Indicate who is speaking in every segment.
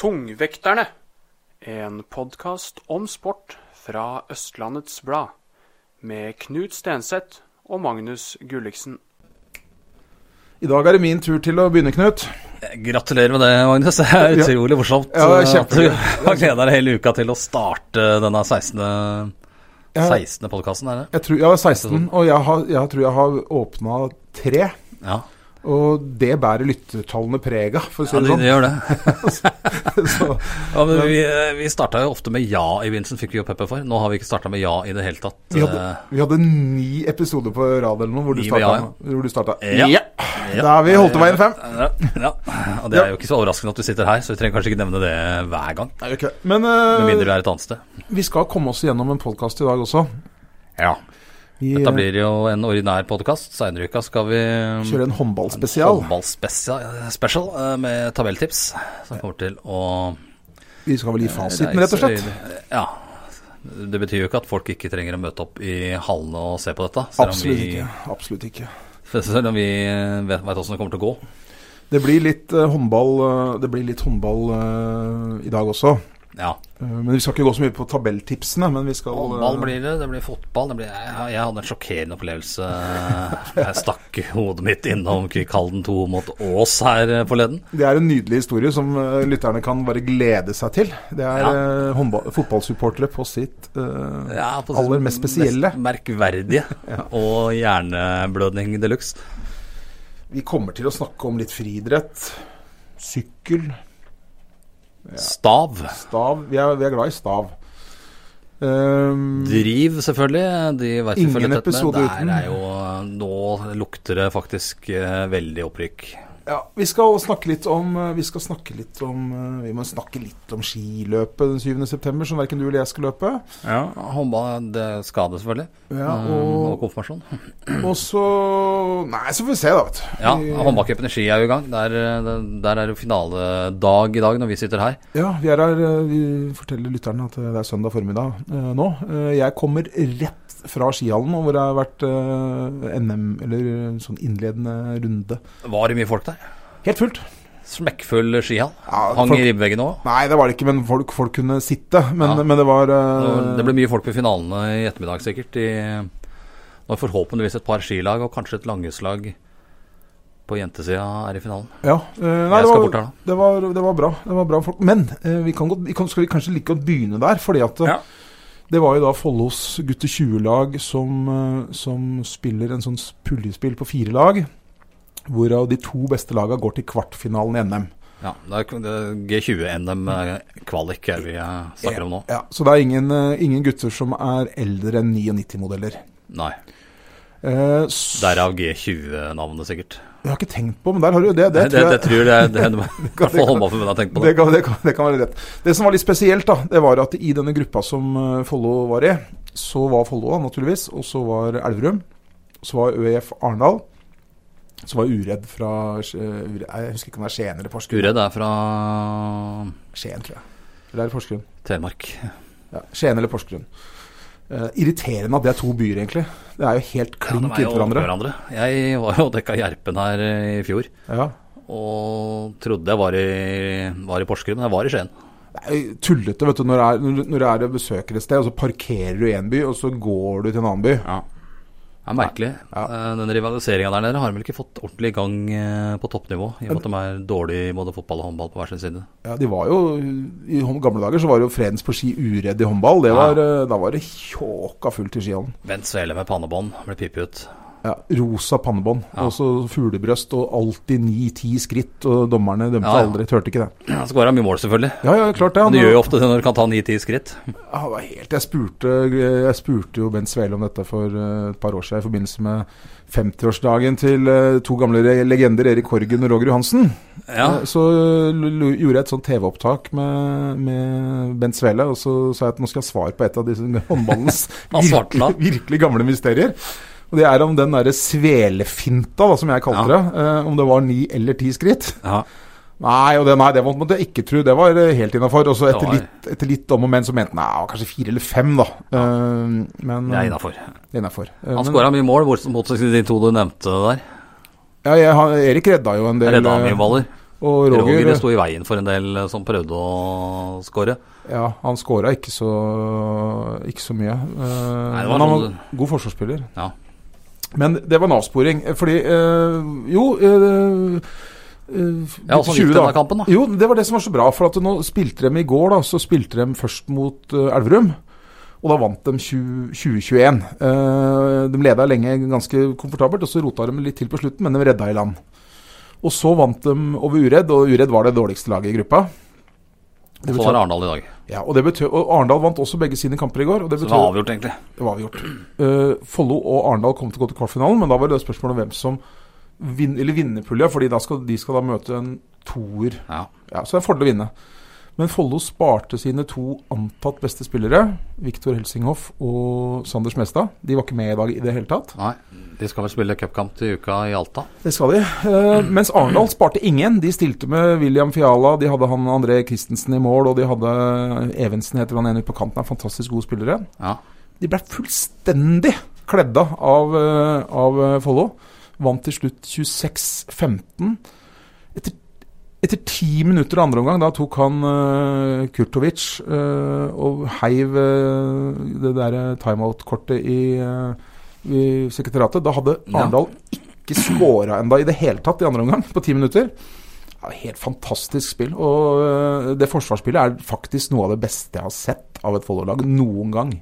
Speaker 1: Tungvekterne, en podkast om sport fra Østlandets Blad, med Knut Stenseth og Magnus Gulliksen.
Speaker 2: I dag er det min tur til å begynne, Knut.
Speaker 3: Gratulerer med det, Magnus. Det er
Speaker 2: Ja.
Speaker 3: utrolig morsomt
Speaker 2: Ja,
Speaker 3: eh, at du
Speaker 2: kjempegøy.
Speaker 3: har gleda deg hele uka til å starte eh, denne 16.
Speaker 2: Ja.
Speaker 3: 16. podkasten, er det?
Speaker 2: Jeg, tror, jeg er 16, og jeg, har, jeg tror jeg har åpna tre.
Speaker 3: Ja,
Speaker 2: Og det bærer lyttertallene preg av, for å si
Speaker 3: ja
Speaker 2: det
Speaker 3: det, det
Speaker 2: sånn.
Speaker 3: gjør det.
Speaker 2: Så,
Speaker 3: Ja, men vi eh, vi starta jo ofte med ja i begynnelsen, fikk vi jo pepper for. Nå har vi ikke starta med ja i det hele tatt.
Speaker 2: vi, hadde,
Speaker 3: Eh,
Speaker 2: vi hadde ni episoder på rad eller noe hvor du
Speaker 3: Ni med
Speaker 2: starta.
Speaker 3: ja,
Speaker 2: Hvor du starta.
Speaker 3: Ja.
Speaker 2: Da har vi holdt på veien fem.
Speaker 3: Ja, ja. Og det er jo ikke så overraskende at du sitter her, så vi trenger kanskje ikke nevne det hver gang.
Speaker 2: Nei, ok. Men
Speaker 3: Med
Speaker 2: eh,
Speaker 3: mindre du er et annet sted.
Speaker 2: vi skal komme oss gjennom en podkast i dag også.
Speaker 3: Ja.
Speaker 2: Vi
Speaker 3: Dette
Speaker 2: eh,
Speaker 3: blir jo en ordinær podkast. Seinere i uka skal vi
Speaker 2: kjører en håndballspesial.
Speaker 3: Håndballspesial special, eh, med tabelltips, som kommer til å
Speaker 2: Vi skal
Speaker 3: Eh,
Speaker 2: vel gi fasiten,
Speaker 3: reise
Speaker 2: rett og slett.
Speaker 3: høyde. Ja. Det betyr jo ikke at folk ikke trenger å møte opp i hallene og se på dette. Selv om
Speaker 2: Absolutt
Speaker 3: vi,
Speaker 2: ikke. Absolutt ikke.
Speaker 3: selv om vi vet, vet hvordan det kommer til å gå.
Speaker 2: Det blir litt eh, håndball, eh, det blir litt håndball eh, i dag også.
Speaker 3: Ja.
Speaker 2: Eh, Men Vi skal ikke gå så mye på tabelltipsene, men vi skal
Speaker 3: Håndball
Speaker 2: eh,
Speaker 3: blir det, det blir fotball. Det blir, jeg, jeg hadde en sjokkerende opplevelse. Jeg stakk hodet mitt innom Kvikkhalden 2 mot Ås her eh, forleden.
Speaker 2: Det er en nydelig historie som eh, lytterne kan bare glede seg til. Det er
Speaker 3: Ja.
Speaker 2: eh, håndball- fotballsupportere på sitt eh,
Speaker 3: Ja, på
Speaker 2: aller
Speaker 3: sitt
Speaker 2: mest spesielle.
Speaker 3: Mest merkverdige. Og hjerneblødning de luxe.
Speaker 2: Vi kommer til å snakke om litt friidrett, sykkel,
Speaker 3: Stav.
Speaker 2: stav. Vi er, vi er glad i stav. Ehm,
Speaker 3: Driv, selvfølgelig. De vet vi
Speaker 2: Ingen
Speaker 3: følger tett med.
Speaker 2: episode
Speaker 3: Der
Speaker 2: uten.
Speaker 3: Er jo, nå lukter det faktisk eh, veldig opprykk.
Speaker 2: ja, vi skal snakke litt om eh, Vi skal snakke litt om eh, Vi må snakke litt om skiløpet den 7. september, som verken du eller jeg skal løpe.
Speaker 3: Ja. Håndball det skade, selvfølgelig.
Speaker 2: Ja,
Speaker 3: Eh, og
Speaker 2: og,
Speaker 3: konfirmasjon.
Speaker 2: og så Nei, så får vi se, da, vet du.
Speaker 3: Ja,
Speaker 2: Vi-
Speaker 3: Håndballcupen i Ski er jo i gang. Der, eh, der er det finaledag i dag når vi sitter her.
Speaker 2: Ja, vi er her. eh, Vi forteller lytterne at eh, det er søndag formiddag eh, nå. Eh, Jeg kommer rett fra skihallen, nå, hvor det har vært eh, NM, eller eh, sånn innledende runde.
Speaker 3: Var det mye folk der?
Speaker 2: Helt fullt.
Speaker 3: Smekkfull skihall.
Speaker 2: Ja,
Speaker 3: Hang
Speaker 2: folk-
Speaker 3: i ribbeveggen òg.
Speaker 2: Nei, det var det ikke, men folk, folk kunne sitte. Men,
Speaker 3: Ja.
Speaker 2: men det var eh,
Speaker 3: Det ble mye folk på finalene i ettermiddag, sikkert. I, når forhåpentligvis et par skilag og kanskje et langhusslag på jentesida er i finalen.
Speaker 2: Ja. eh, Nei,
Speaker 3: Jeg
Speaker 2: det
Speaker 3: skal
Speaker 2: var,
Speaker 3: bort her nå.
Speaker 2: det, var, det var bra. Det var bra folk. Men eh, vi kan godt, vi kan, skal vi kanskje like godt begynne der, fordi at eh,
Speaker 3: Ja.
Speaker 2: det var jo da Follos gutte 20-lag som, eh, som spiller en sånn puljespill på fire lag. Hvorav de to beste laga går til kvartfinalen i NM.
Speaker 3: Ja, det er det er G20-NM-kvalik eh, er vi eh, snakker om nå.
Speaker 2: Ja, så det er ingen, eh, ingen gutter som er eldre enn 99-modeller.
Speaker 3: Nei.
Speaker 2: Eh, s-
Speaker 3: Derav G20-navnet, sikkert.
Speaker 2: Jeg har ikke tenkt på, men der har du jo det. Det,
Speaker 3: Det, det,
Speaker 2: tror jeg-
Speaker 3: tror jeg det er det, det,
Speaker 2: kan-
Speaker 3: Få Håndballforbundet har tenkt på
Speaker 2: Det
Speaker 3: det.
Speaker 2: kan, det, kan, det kan være rett. Det som var litt spesielt, da, det var at i denne gruppa som eh, Follo var i, så var Follo, da, naturligvis, og så var Elverum. Så var ØIF Arendal. Så var Uredd fra Sk- eh, Ure- nei, Jeg husker ikke om det er Skien eller Porsgrunn.
Speaker 3: Uredd er fra
Speaker 2: Skien, tror jeg. Eller er det Porsgrunn?
Speaker 3: Telemark.
Speaker 2: Ja, Skien eller Porsgrunn. Eh, irriterende at det er to byer, egentlig. Det er jo helt
Speaker 3: Ja,
Speaker 2: klink
Speaker 3: de er jo
Speaker 2: inntil hverandre.
Speaker 3: hverandre. Jeg var jo og dekka Gjerpen her eh, i fjor,
Speaker 2: Ja.
Speaker 3: og trodde jeg var i, var i Porsgrunn, men jeg var i Skien.
Speaker 2: Det er jo tullete vet du, når du er, når du er og besøker et sted, og så parkerer du i en by, og så går du til en annen by.
Speaker 3: Ja. Det er merkelig.
Speaker 2: Ja.
Speaker 3: Eh, Den rivaliseringa der nede har de vel ikke fått ordentlig i gang eh, på toppnivå, i og med at de er dårlige i både fotball og håndball på hver sin side.
Speaker 2: Ja, de var jo, I hom- gamle dager så var det jo Fredens på ski uredd i håndball. Det var, eh, Da var det tjåka fullt i skihallen.
Speaker 3: Bent Svele med pannebånd ble pipet ut.
Speaker 2: Ja, rosa pannebånd
Speaker 3: Ja.
Speaker 2: og så fuglebrøst og alltid ni-ti skritt, og dommerne dømte
Speaker 3: Ja, ja.
Speaker 2: aldri. Tørte ikke det.
Speaker 3: Det skal være mye mål, selvfølgelig.
Speaker 2: Ja, ja, klart det.
Speaker 3: Men
Speaker 2: Han,
Speaker 3: du gjør jo ofte det når du kan ta 9-10 skritt.
Speaker 2: Ja, det var helt, jeg, spurte, jeg spurte jo Bent Svele om dette for eh, et par år siden i forbindelse med 50-årsdagen til eh, to gamle re- legender, Erik Horgen og Roger Johansen.
Speaker 3: Ja,
Speaker 2: Eh, Så l- l- gjorde jeg et sånt TV-opptak med, med Bent Svele, og så sa jeg at nå skal jeg ha svar på et av disse håndballens
Speaker 3: Han svarte da.
Speaker 2: virkelig, virkelig gamle mysterier. Og det er om den derre svelefinta, da, som jeg kalte det, eh, om det var ni eller ti skritt.
Speaker 3: ja.
Speaker 2: Nei, og det, nei, det måtte jeg ikke tro. Det var eh, helt innafor. Og så
Speaker 3: Det
Speaker 2: etter,
Speaker 3: var-
Speaker 2: litt- etter litt om og men så mente han nei, kanskje fire eller fem, da. Eh, Men
Speaker 3: Det er innafor.
Speaker 2: det er innafor. Eh,
Speaker 3: Han
Speaker 2: men-
Speaker 3: skåra mye mål, bortsett mot de to du nevnte der.
Speaker 2: Ja, jeg, han, Erik redda jo en del.
Speaker 3: Jeg redda han
Speaker 2: eh,
Speaker 3: mye baller.
Speaker 2: Og Roger, eh,
Speaker 3: Roger sto i veien for en del eh, som prøvde å skåre.
Speaker 2: Ja, han skåra ikke, så- ikke så mye. Eh,
Speaker 3: Nei, det var
Speaker 2: men han
Speaker 3: sånn-
Speaker 2: var god forsvarsspiller.
Speaker 3: Ja.
Speaker 2: Men det var en avsporing, eh, fordi eh, Jo. eh, eh,
Speaker 3: Ja, og så gikk
Speaker 2: 20 da.
Speaker 3: denne kampen, da.
Speaker 2: Jo, det var det som var så bra. For at nå spilte de i går, da, så spilte de først mot eh, Elverum. Og da vant de 20 2021. Eh, de leda lenge ganske komfortabelt, og så rota de litt til på slutten, men de redda i land. Og så vant de over Uredd, og Uredd var det dårligste laget i gruppa.
Speaker 3: Så var det Arendal i dag.
Speaker 2: Ja, og, det betød, og Arendal vant også begge sine kamper i går. Og det
Speaker 3: Så
Speaker 2: betød,
Speaker 3: det var avgjort, egentlig.
Speaker 2: det var avgjort. Eh, Follo og Arendal kom til å gå til kvartfinalen, men da var det spørsmål om hvem som vin, eller vinner pulja, fordi da skal, de skal da møte en toer.
Speaker 3: Ja.
Speaker 2: Ja, så det er en fordel å vinne. Men Follo sparte sine to antatt beste spillere, Viktor Helsinghoff og Sander Smestad. De var ikke med i dag i det hele tatt.
Speaker 3: Nei, de skal vel spille cupkamp til uka i Alta.
Speaker 2: Det skal de. Eh, mens Arendal sparte ingen. De stilte med William Fiala, de hadde han André Christensen i mål, og de hadde Evensen, heter han ene ute på kanten, er fantastisk gode spillere.
Speaker 3: Ja.
Speaker 2: De ble fullstendig kledda av, eh, av eh, Follo. Vant til slutt 26-15. Etter, etter ti minutter av andre omgang, da tok han eh, Kurtovic eh, og heiv eh, det derre timeout-kortet i, eh, i sekretariatet. Da hadde
Speaker 3: Ja.
Speaker 2: Arendal ikke scora enda i det hele tatt i andre omgang, på ti minutter. Det var Helt fantastisk spill. Og eh, det forsvarsspillet er faktisk noe av det beste jeg har sett av et Follo-lag noen gang.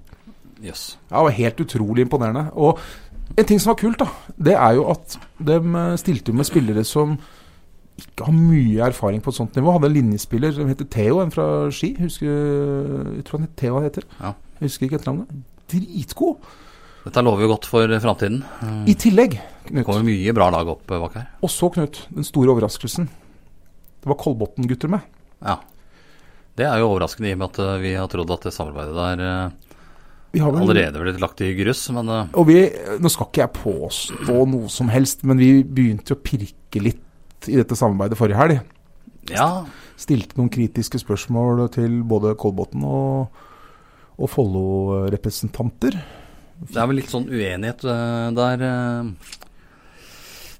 Speaker 3: Jøss.
Speaker 2: Ja, det var helt utrolig imponerende. Og en ting som var kult, da, det er jo at de stilte med spillere som ikke har mye erfaring på et sånt nivå. Hadde en linjespiller som heter Theo, en fra Ski. Husker, jeg tror han het Theo han heter.
Speaker 3: Ja.
Speaker 2: Jeg Husker ikke etternavnet. Dritgod!
Speaker 3: Dette lover jo godt for framtiden.
Speaker 2: I tillegg,
Speaker 3: Det
Speaker 2: Knut,
Speaker 3: kommer mye bra lag opp eh, bak her.
Speaker 2: og så Knut, den store overraskelsen. Det var Kolbotn-gutter med.
Speaker 3: Ja. Det er jo overraskende i og med at eh, vi har trodd at det samarbeidet der eh,
Speaker 2: Vi har vel-
Speaker 3: allerede blitt lagt i grus, men eh,
Speaker 2: Og vi, nå skal ikke jeg påstå noe som helst, men vi begynte å pirke litt i dette samarbeidet forrige helg.
Speaker 3: ja.
Speaker 2: stilte noen kritiske spørsmål til både Kolbotn og, og Follo-representanter.
Speaker 3: Det er vel litt sånn uenighet eh, der. eh.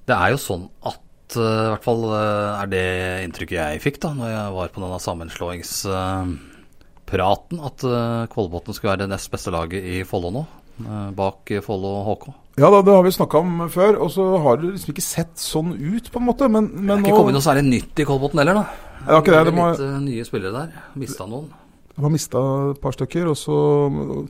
Speaker 3: Det er jo sånn at eh, I hvert fall eh, er det inntrykket jeg fikk da når jeg var på denne sammenslåingspraten, at eh, Kolbotn skulle være det nest beste laget i Follo nå, eh, bak eh, Follo HK.
Speaker 2: Ja da, det har vi snakka om før, og så har det liksom ikke sett sånn ut, på en måte. Men,
Speaker 3: Det
Speaker 2: men
Speaker 3: er
Speaker 2: nå
Speaker 3: ikke kommet noe særlig nytt i Kolbotn heller, da.
Speaker 2: Det var ikke det.
Speaker 3: Det er
Speaker 2: De har,
Speaker 3: litt eh, nye spillere der. Mista noen.
Speaker 2: de har mista et par stykker, og så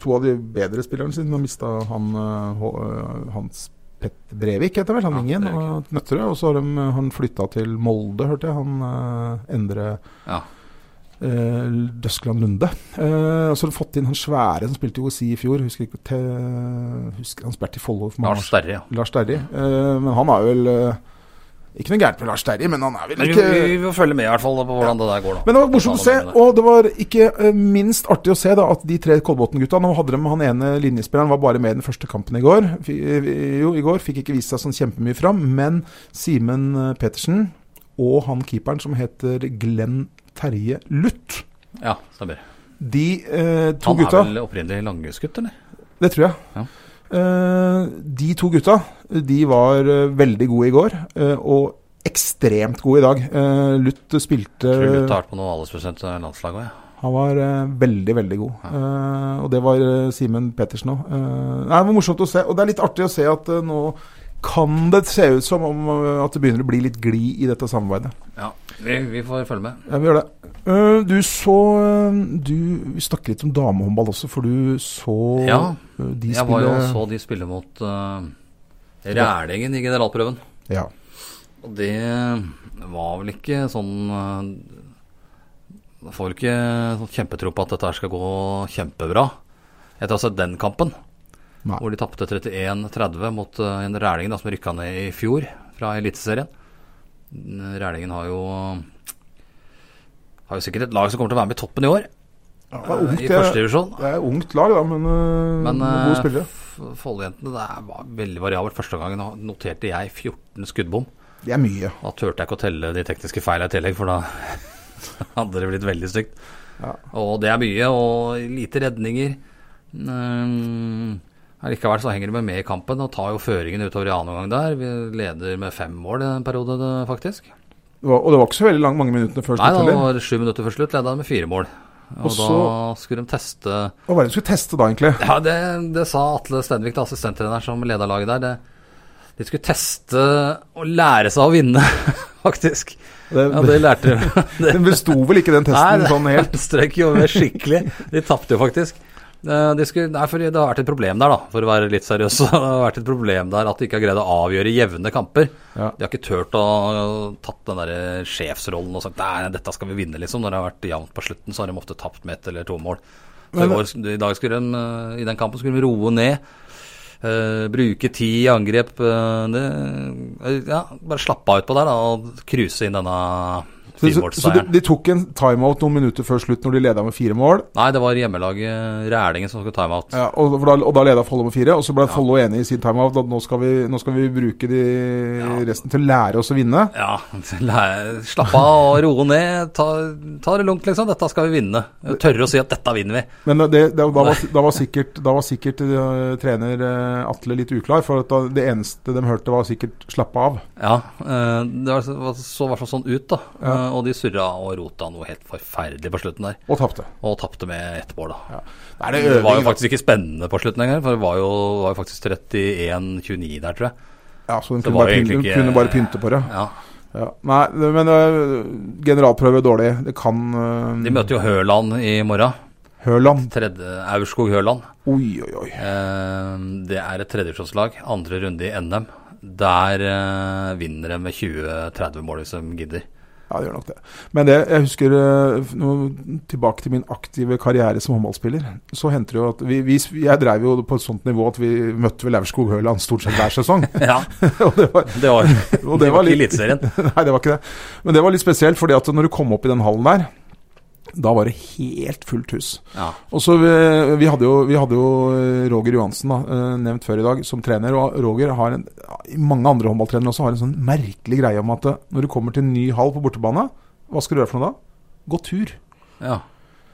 Speaker 2: to av de bedre spillerne sine. De har mista han eh, H- eh, Hans Petter Brevik, heter det vel, han
Speaker 3: Ja,
Speaker 2: ingen,
Speaker 3: Brevik.
Speaker 2: og Nøtterøy. Og så har de, han flytta til Molde, hørte jeg. Han eh, Endre
Speaker 3: Ja.
Speaker 2: eh, Døskeland Lunde. Eh, og så har de fått inn han svære som spilte i OSI i fjor. Husker ikke te, husker han spilte i Follo for mange år
Speaker 3: Lars Sterre, ja.
Speaker 2: siden. Lars Terje. Eh, men han er vel eh, Ikke noe gærent med Lars Terje, men han er vel
Speaker 3: Men
Speaker 2: ikke
Speaker 3: vi, vi får følge med i hvert fall på hvordan det der går, da.
Speaker 2: men det var morsomt å se, og det var ikke eh, minst artig å se da, at de tre Kolbotn-gutta Nå hadde de han ene linjespilleren, var bare med i den første kampen i går. Fi- eh, Jo, i går fikk ikke vist seg sånn kjempemye fram, men Simen eh, Petersen og han keeperen som heter Glenn Terje Luth
Speaker 3: Ja, stemmer.
Speaker 2: De eh, to
Speaker 3: Han er
Speaker 2: gutta
Speaker 3: vel opprinnelig langguttgutt, eller?
Speaker 2: Det tror jeg.
Speaker 3: Ja.
Speaker 2: Eh, de to gutta de var eh, veldig gode i går, eh, og ekstremt gode i dag. Eh, Lutt spilte
Speaker 3: Tror Lutt har vært på noe aldersbestemt landslag òg, ja.
Speaker 2: Han var eh, veldig, veldig god. Eh, og det var eh, Simen Pettersen òg. Eh, nei, det var morsomt å se. Og det er litt artig å se at eh, nå kan det se ut som om eh, at det begynner å bli litt glid i dette samarbeidet.
Speaker 3: ja. Vi, vi får følge med.
Speaker 2: Ja, vi gjør det. Eh, du så eh, Du vi snakker litt om damehåndball også, for du så
Speaker 3: Ja,
Speaker 2: eh, de
Speaker 3: Jeg var jo
Speaker 2: spille
Speaker 3: og så de spille mot eh, Rælingen i generalprøven.
Speaker 2: Ja.
Speaker 3: Og det var vel ikke sånn eh, Man får vel ikke sånn kjempetro på at dette her skal gå kjempebra. Etter å ha sett den kampen,
Speaker 2: Nei.
Speaker 3: hvor de tapte 31-30 mot eh, en Rælingen da, som rykka ned i fjor fra Eliteserien. Rælingen har jo har jo sikkert et lag som kommer til å være med i toppen i år,
Speaker 2: Ja, det, er ungt,
Speaker 3: eh, i
Speaker 2: det,
Speaker 3: første
Speaker 2: er,
Speaker 3: divisjon.
Speaker 2: det er ungt lag, da, men, øh,
Speaker 3: Men
Speaker 2: gode spillere.
Speaker 3: eh, Follo-jentene, det er- var veldig variabelt. Første gangen noterte jeg 14 skuddbom.
Speaker 2: Det er mye.
Speaker 3: Da turte jeg ikke å telle de tekniske feilene i tillegg, for da hadde det blitt veldig stygt.
Speaker 2: Ja.
Speaker 3: Og det er mye, og lite redninger. Mm, Allikevel så henger de med med i kampen og tar jo føringen utover i annen omgang der. Vi leder med fem mål i den perioden, det, faktisk.
Speaker 2: Det var, og det var ikke så veldig lang, mange minuttene før
Speaker 3: Nei,
Speaker 2: slutt
Speaker 3: da
Speaker 2: heller.
Speaker 3: var det sju minutter før slutt, leda de med fire mål. Og,
Speaker 2: Og
Speaker 3: da
Speaker 2: så-
Speaker 3: skulle de teste
Speaker 2: Hva var det de skulle teste da, egentlig?
Speaker 3: Ja, det, det sa Atle Stenvik, da, assistenttreneren som leda laget der. Det, de skulle teste og lære seg å vinne, faktisk.
Speaker 2: Det,
Speaker 3: Ja, det lærte de. Det,
Speaker 2: den besto vel ikke den testen
Speaker 3: det-
Speaker 2: sånn helt?
Speaker 3: strøk jo med skikkelig. De tapte jo faktisk. Eh, De skulle, nei, for det har vært et problem der, da, for å være litt seriøs. Det har vært et problem der at de ikke har greid å avgjøre jevne kamper.
Speaker 2: Ja.
Speaker 3: De har ikke turt å eh, tatt den der sjefsrollen og sagt nei, dette skal vi vinne, liksom. Når det har vært jevnt på slutten, så har de ofte tapt med ett eller to mål. Så i,
Speaker 2: Men-
Speaker 3: går, I dag skulle de, eh, i den kampen skulle de roe ned. eh, bruke tid i angrep. eh, det, eh, ja, bare slappe av utpå der da, og cruise inn denne
Speaker 2: Så, så, så de,
Speaker 3: firemålsseieren.
Speaker 2: de tok en timeout noen minutter før slutt når de leda med fire mål.
Speaker 3: Nei, det var hjemmelaget eh, Rælingen som skulle timeout.
Speaker 2: Ja, og, for da, og da leda Follo med fire, og så ble Follo enig i sin timeout at nå skal vi, nå skal vi bruke de resten til å lære oss å vinne.
Speaker 3: Ja, læ- slapp av og roe ned. Ta, ta det lungt, liksom. Dette skal vi vinne. Tørre å si at dette vinner vi.
Speaker 2: Men det, det, da, var, da var sikkert, da var sikkert eh, trener eh, Atle litt uklar, for at da, det eneste de hørte, var sikkert 'slappe av'.
Speaker 3: Ja, eh, det var- var- så i hvert fall sånn ut, da.
Speaker 2: Ja.
Speaker 3: Eh, Og de surra og rota noe helt forferdelig på slutten der.
Speaker 2: Og tapte.
Speaker 3: Og tapte med ett mål, da.
Speaker 2: Er
Speaker 3: Det, var jo faktisk ikke spennende på slutten engang, for det var jo, var jo faktisk 31-29 der, tror jeg.
Speaker 2: Ja, så de
Speaker 3: Det
Speaker 2: kunne
Speaker 3: var
Speaker 2: bare, pynte,
Speaker 3: jo egentlig
Speaker 2: de
Speaker 3: ikke-
Speaker 2: kunne bare pynte på det.
Speaker 3: Ja.
Speaker 2: Ja. Nei, det- men øh, generalprøve er dårlig. Det kan øh,
Speaker 3: De møter jo Høland i morgen.
Speaker 2: Høland.
Speaker 3: Tredje Aurskog-Høland.
Speaker 2: Oi, oi, oi.
Speaker 3: Eh, Det er et tredjevisjonslag, andre runde i NM. Der eh, vinner de med 20-30 mål hvis de gidder.
Speaker 2: Ja, det gjør nok det. Men det, jeg husker øh, nå, tilbake til min aktive karriere som håndballspiller. Så hendte det jo at vi, vi Jeg dreiv jo på et sånt nivå at vi møtte vel Aurskog Høland stort sett hver sesong.
Speaker 3: Ja,
Speaker 2: og det var,
Speaker 3: det var,
Speaker 2: og
Speaker 3: det var ikke
Speaker 2: litt-
Speaker 3: Eliteserien.
Speaker 2: Nei, det var ikke det. Men det var litt spesielt, fordi at når du kom opp i den hallen der, da var det helt fullt hus.
Speaker 3: Ja.
Speaker 2: Og så vi, vi, hadde jo, vi hadde jo Roger Johansen, da, eh, nevnt før i dag, som trener. Og Roger har en, i mange andre håndballtrenere også har en sånn merkelig greie om at eh, når du kommer til en ny hall på bortebane, hva skal du gjøre for noe da? Gå tur.
Speaker 3: ja.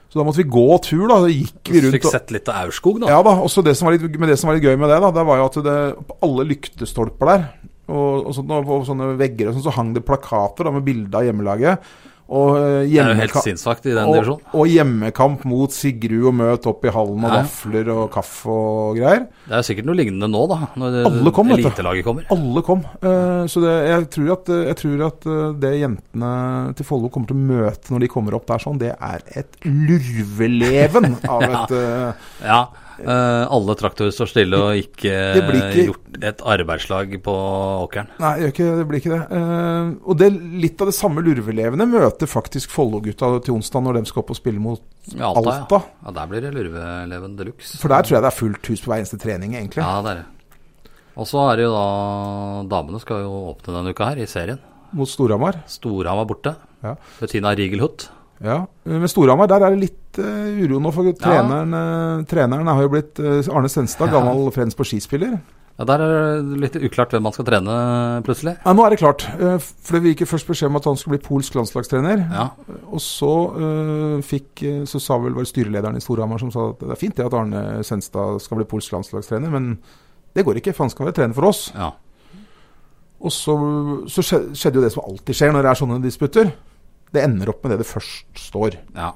Speaker 2: Så da måtte vi gå tur, da. Da gikk vi rundt.
Speaker 3: Fikk
Speaker 2: og-
Speaker 3: sett litt av Aurskog, da.
Speaker 2: ja da, også det som var litt, men det som var litt gøy med det, da, det var jo at det, på alle lyktestolper der, og, og, sånt, og på sånne vegger og sånn, så hang det plakater da, med bilde av hjemmelaget. Og, eh,
Speaker 3: Det er jo helt
Speaker 2: hjemmeka-
Speaker 3: sinnssvakt i den
Speaker 2: og,
Speaker 3: divisjonen.
Speaker 2: og hjemmekamp mot Sigrud og møt opp i hallen og
Speaker 3: Ja.
Speaker 2: vafler og kaffe og greier.
Speaker 3: Det er jo sikkert noe lignende nå, da. Når
Speaker 2: Alle kom, vet du.
Speaker 3: elitelaget kommer.
Speaker 2: Alle kom. eh, så det, jeg, tror at, jeg tror at eh, det jentene til Follo kommer til å møte når de kommer opp der sånn, det er et lurveleven av et eh,
Speaker 3: Ja. eh, alle traktorer står stille og ikke, eh,
Speaker 2: Det blir ikke-
Speaker 3: gjort et arbeidslag på åkeren.
Speaker 2: Nei, det, gjør ikke, det blir ikke det. Eh, og det, litt av det samme lurvelevende møter faktisk Follo-gutta til onsdag når de skal opp og spille mot
Speaker 3: Med Alta,
Speaker 2: Alta.
Speaker 3: ja. ja. Der blir det lurveleven de luxe.
Speaker 2: For der tror jeg det er fullt hus på hver eneste trening, egentlig.
Speaker 3: Ja, det er det. Og så er det jo da Damene skal jo åpne denne uka her, i serien.
Speaker 2: Mot Storhamar.
Speaker 3: Storhamar borte.
Speaker 2: Ja.
Speaker 3: Bettina Rigelhut.
Speaker 2: Ja. Men Storhamar, der er det litt eh, uro nå, for treneren, eh, treneren har jo blitt eh, Arne Senstad,
Speaker 3: Ja.
Speaker 2: gammel Frens på skispiller.
Speaker 3: Ja, der er det litt uklart hvem man skal trene, plutselig.
Speaker 2: Ja, nå er det klart, eh, for vi gikk jo først beskjed om at han skulle bli polsk landslagstrener.
Speaker 3: Ja,
Speaker 2: Og så eh, fikk eh, Så sa vel var det styrelederen i Storhamar som sa at det er fint det at Arne Senstad skal bli polsk landslagstrener, men det går ikke, for han skal være trener for oss.
Speaker 3: ja.
Speaker 2: Og så, så skje- skjedde jo det som alltid skjer når det er sånne disputter. Det ender opp med det det først står.
Speaker 3: ja.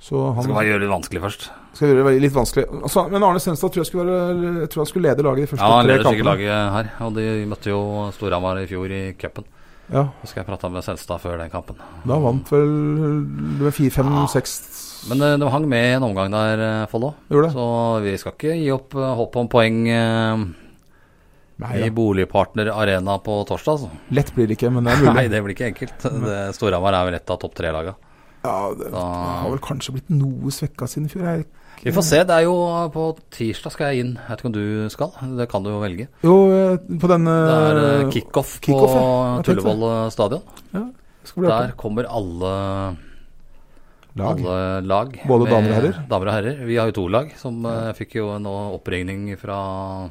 Speaker 2: Så han
Speaker 3: Skal
Speaker 2: skal,
Speaker 3: bare gjøre det vanskelig først.
Speaker 2: gjøre det veldig- litt vanskelig. Altså, men Arne Senstad tror jeg, skulle være, jeg tror han skulle lede laget de første
Speaker 3: Ja, han
Speaker 2: tre
Speaker 3: leder sikkert
Speaker 2: kampene.
Speaker 3: laget her. Og de møtte jo Storhamar i fjor i cupen.
Speaker 2: Ja,
Speaker 3: Husker jeg prata med Senstad før den kampen.
Speaker 2: da vant vel det var fire, fem,
Speaker 3: Ja.
Speaker 2: seks
Speaker 3: Men eh, de hang med i en omgang der, eh, Follo.
Speaker 2: Gjorde det.
Speaker 3: Så vi skal ikke gi opp eh, håpet om poeng eh,
Speaker 2: Nei,
Speaker 3: i
Speaker 2: ja.
Speaker 3: Boligpartner Arena på torsdag. Altså.
Speaker 2: Lett blir det ikke, men det er mulig.
Speaker 3: Nei, det blir ikke enkelt. Det- Storhamar er vel et av topp tre-laga.
Speaker 2: Ja, det
Speaker 3: Da-
Speaker 2: har vel kanskje blitt noe svekka siden i fjor. Jeg,
Speaker 3: Vi får se. Det er jo på tirsdag skal jeg inn. Jeg vet ikke om du skal? Det kan du jo velge.
Speaker 2: jo, eh, på den
Speaker 3: Det er eh,
Speaker 2: eh,
Speaker 3: kickoff på
Speaker 2: kickoff, ja. Jeg tenkte det.
Speaker 3: Tullevoll eh, stadion.
Speaker 2: skal bli
Speaker 3: Der
Speaker 2: artig.
Speaker 3: kommer alle
Speaker 2: Lag.
Speaker 3: alle lag.
Speaker 2: Både
Speaker 3: med
Speaker 2: damer og herrer?
Speaker 3: Damer og herrer. Vi har jo to lag, som eh, fikk jo en oppregning fra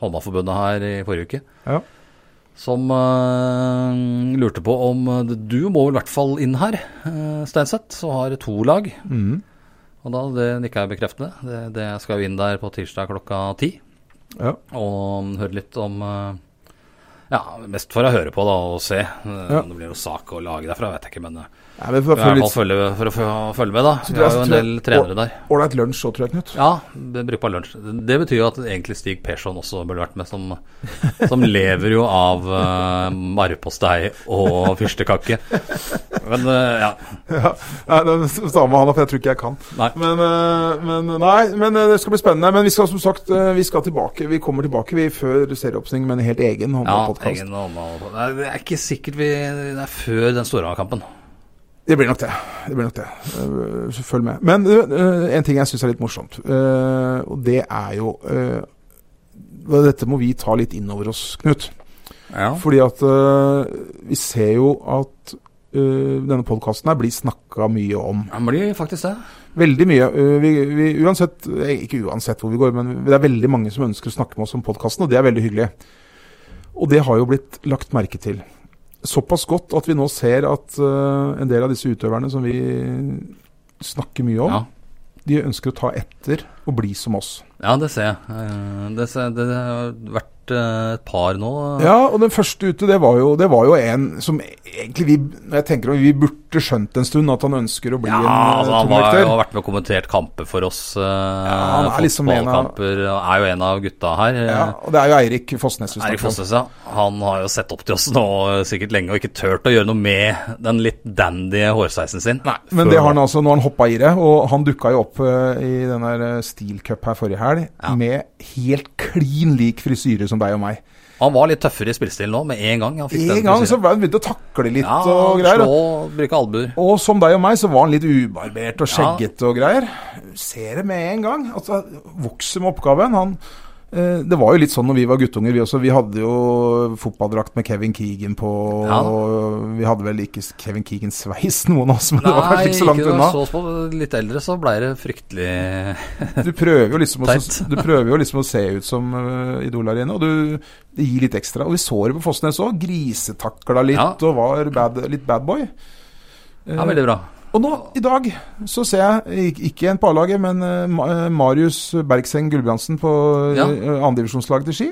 Speaker 3: Håndballforbundet her i forrige uke.
Speaker 2: Ja.
Speaker 3: Som eh, lurte på om eh, Du må vel i hvert fall inn her, eh, Steinseth, som har to lag.
Speaker 2: Mhm.
Speaker 3: Og da, det nikka jeg bekreftende. Det, det jeg skal jo inn der på tirsdag klokka ti
Speaker 2: Ja.
Speaker 3: og høre litt om eh, Ja, mest for å høre på da, og se. Eh,
Speaker 2: Ja.
Speaker 3: Om det blir noe sak å lage derfra, vet jeg ikke. Men eh,
Speaker 2: Nei, men for,
Speaker 3: for,
Speaker 2: for
Speaker 3: i hvert
Speaker 2: litt
Speaker 3: fall følge, for å fø- følge med, da.
Speaker 2: Så
Speaker 3: Vi
Speaker 2: du altså er-
Speaker 3: har jo en
Speaker 2: tror jeg-
Speaker 3: del trenere der.
Speaker 2: ålreit lunsj så, tror jeg, Knut.
Speaker 3: Ja, det- brukbar lunsj. Det betyr jo at egentlig Stig Persson også burde vært med, som, som lever jo av uh, marrpostei og fyrstekake. Men eh, ja,
Speaker 2: Nei, det er Samme han, for jeg tror ikke jeg kan.
Speaker 3: nei.
Speaker 2: Men, eh, men nei, men eh, det skal bli spennende. Men vi skal som sagt eh, vi skal tilbake. Vi kommer tilbake vi før serieoppstilling med en helt egen
Speaker 3: Ja,
Speaker 2: håndballpodkast.
Speaker 3: egen håndball- Nei, Det er ikke sikkert vi Det er før den Storhamar-kampen.
Speaker 2: det blir nok det. det, blir nok det. Eh, så Følg med. Men eh, en ting jeg syns er litt morsomt, eh, og det er jo eh, Dette må vi ta litt inn over oss, Knut.
Speaker 3: Ja.
Speaker 2: Fordi at eh, vi ser jo at eh, denne podkasten her blir snakka mye om.
Speaker 3: Det blir faktisk det.
Speaker 2: Veldig mye. Eh, Vi, vi, uansett, eh, ikke uansett hvor vi går, men det er veldig mange som ønsker å snakke med oss om podkasten, og det er veldig hyggelig. Og det har jo blitt lagt merke til. Såpass godt at vi nå ser at eh, en del av disse utøverne som vi snakker mye om,
Speaker 3: Ja.
Speaker 2: de ønsker å ta etter og bli som oss.
Speaker 3: Ja, det ser jeg. Eh, Det, ser, det har vært eh, et par nå.
Speaker 2: Ja, og den første ute, det var jo, det var jo en som egentlig vi, når jeg tenker om, vi burde skjønt en stund at han ønsker å bli
Speaker 3: Ja,
Speaker 2: en eh,
Speaker 3: altså, han har
Speaker 2: tungvekter.
Speaker 3: jo vært med og kommentert kamper for oss. eh,
Speaker 2: han er liksom en av-
Speaker 3: fotballkamper. og Er jo en av gutta her. eh,
Speaker 2: Ja, og det er jo Eirik Fossnes vi
Speaker 3: Eirik
Speaker 2: snakker om.
Speaker 3: Fossnes, ja. Han har jo sett opp til oss nå eh, sikkert lenge og ikke turt å gjøre noe med den litt dandy hårsveisen sin. Nei,
Speaker 2: Men det har han altså, nå har han hoppa i det, og han dukka jo opp eh, i den der eh, Steel Cup her forrige helg
Speaker 3: Ja.
Speaker 2: med helt klin lik frisyre som deg og meg.
Speaker 3: Han var litt tøffere i spillestilen nå, med en gang. Han fikk
Speaker 2: En
Speaker 3: den
Speaker 2: gang så
Speaker 3: frisyren.
Speaker 2: var han begynte å takle litt
Speaker 3: ja,
Speaker 2: og greier.
Speaker 3: Slå, bruke albuer.
Speaker 2: Og som deg og meg, så var han litt ubarbert og
Speaker 3: Ja.
Speaker 2: skjeggete og greier. Ser det med en gang. Altså, vokser med oppgaven. Han eh, det var jo litt sånn når vi var guttunger, vi også. Vi hadde jo fotballdrakt med Kevin Keegan på.
Speaker 3: Ja.
Speaker 2: og Vi hadde vel ikke Kevin Keegan-sveis, noen av oss, men det var kanskje ikke så langt
Speaker 3: når
Speaker 2: unna.
Speaker 3: vi så på litt eldre, så blei det fryktelig
Speaker 2: Du prøver jo liksom, å,
Speaker 3: Teit.
Speaker 2: du prøver jo liksom å se ut som uh, idolarene, og du, det gir litt ekstra. Og vi så det på Fossnes òg. Grisetakla litt
Speaker 3: Ja.
Speaker 2: og var bad, litt bad boy. Eh,
Speaker 3: Ja, veldig bra.
Speaker 2: og nå, i dag, så ser jeg ik- ikke en på A-laget, men eh, Ma- eh, Marius Bergseng Gulbrandsen på
Speaker 3: Ja.
Speaker 2: ja. andredivisjonslaget til Ski.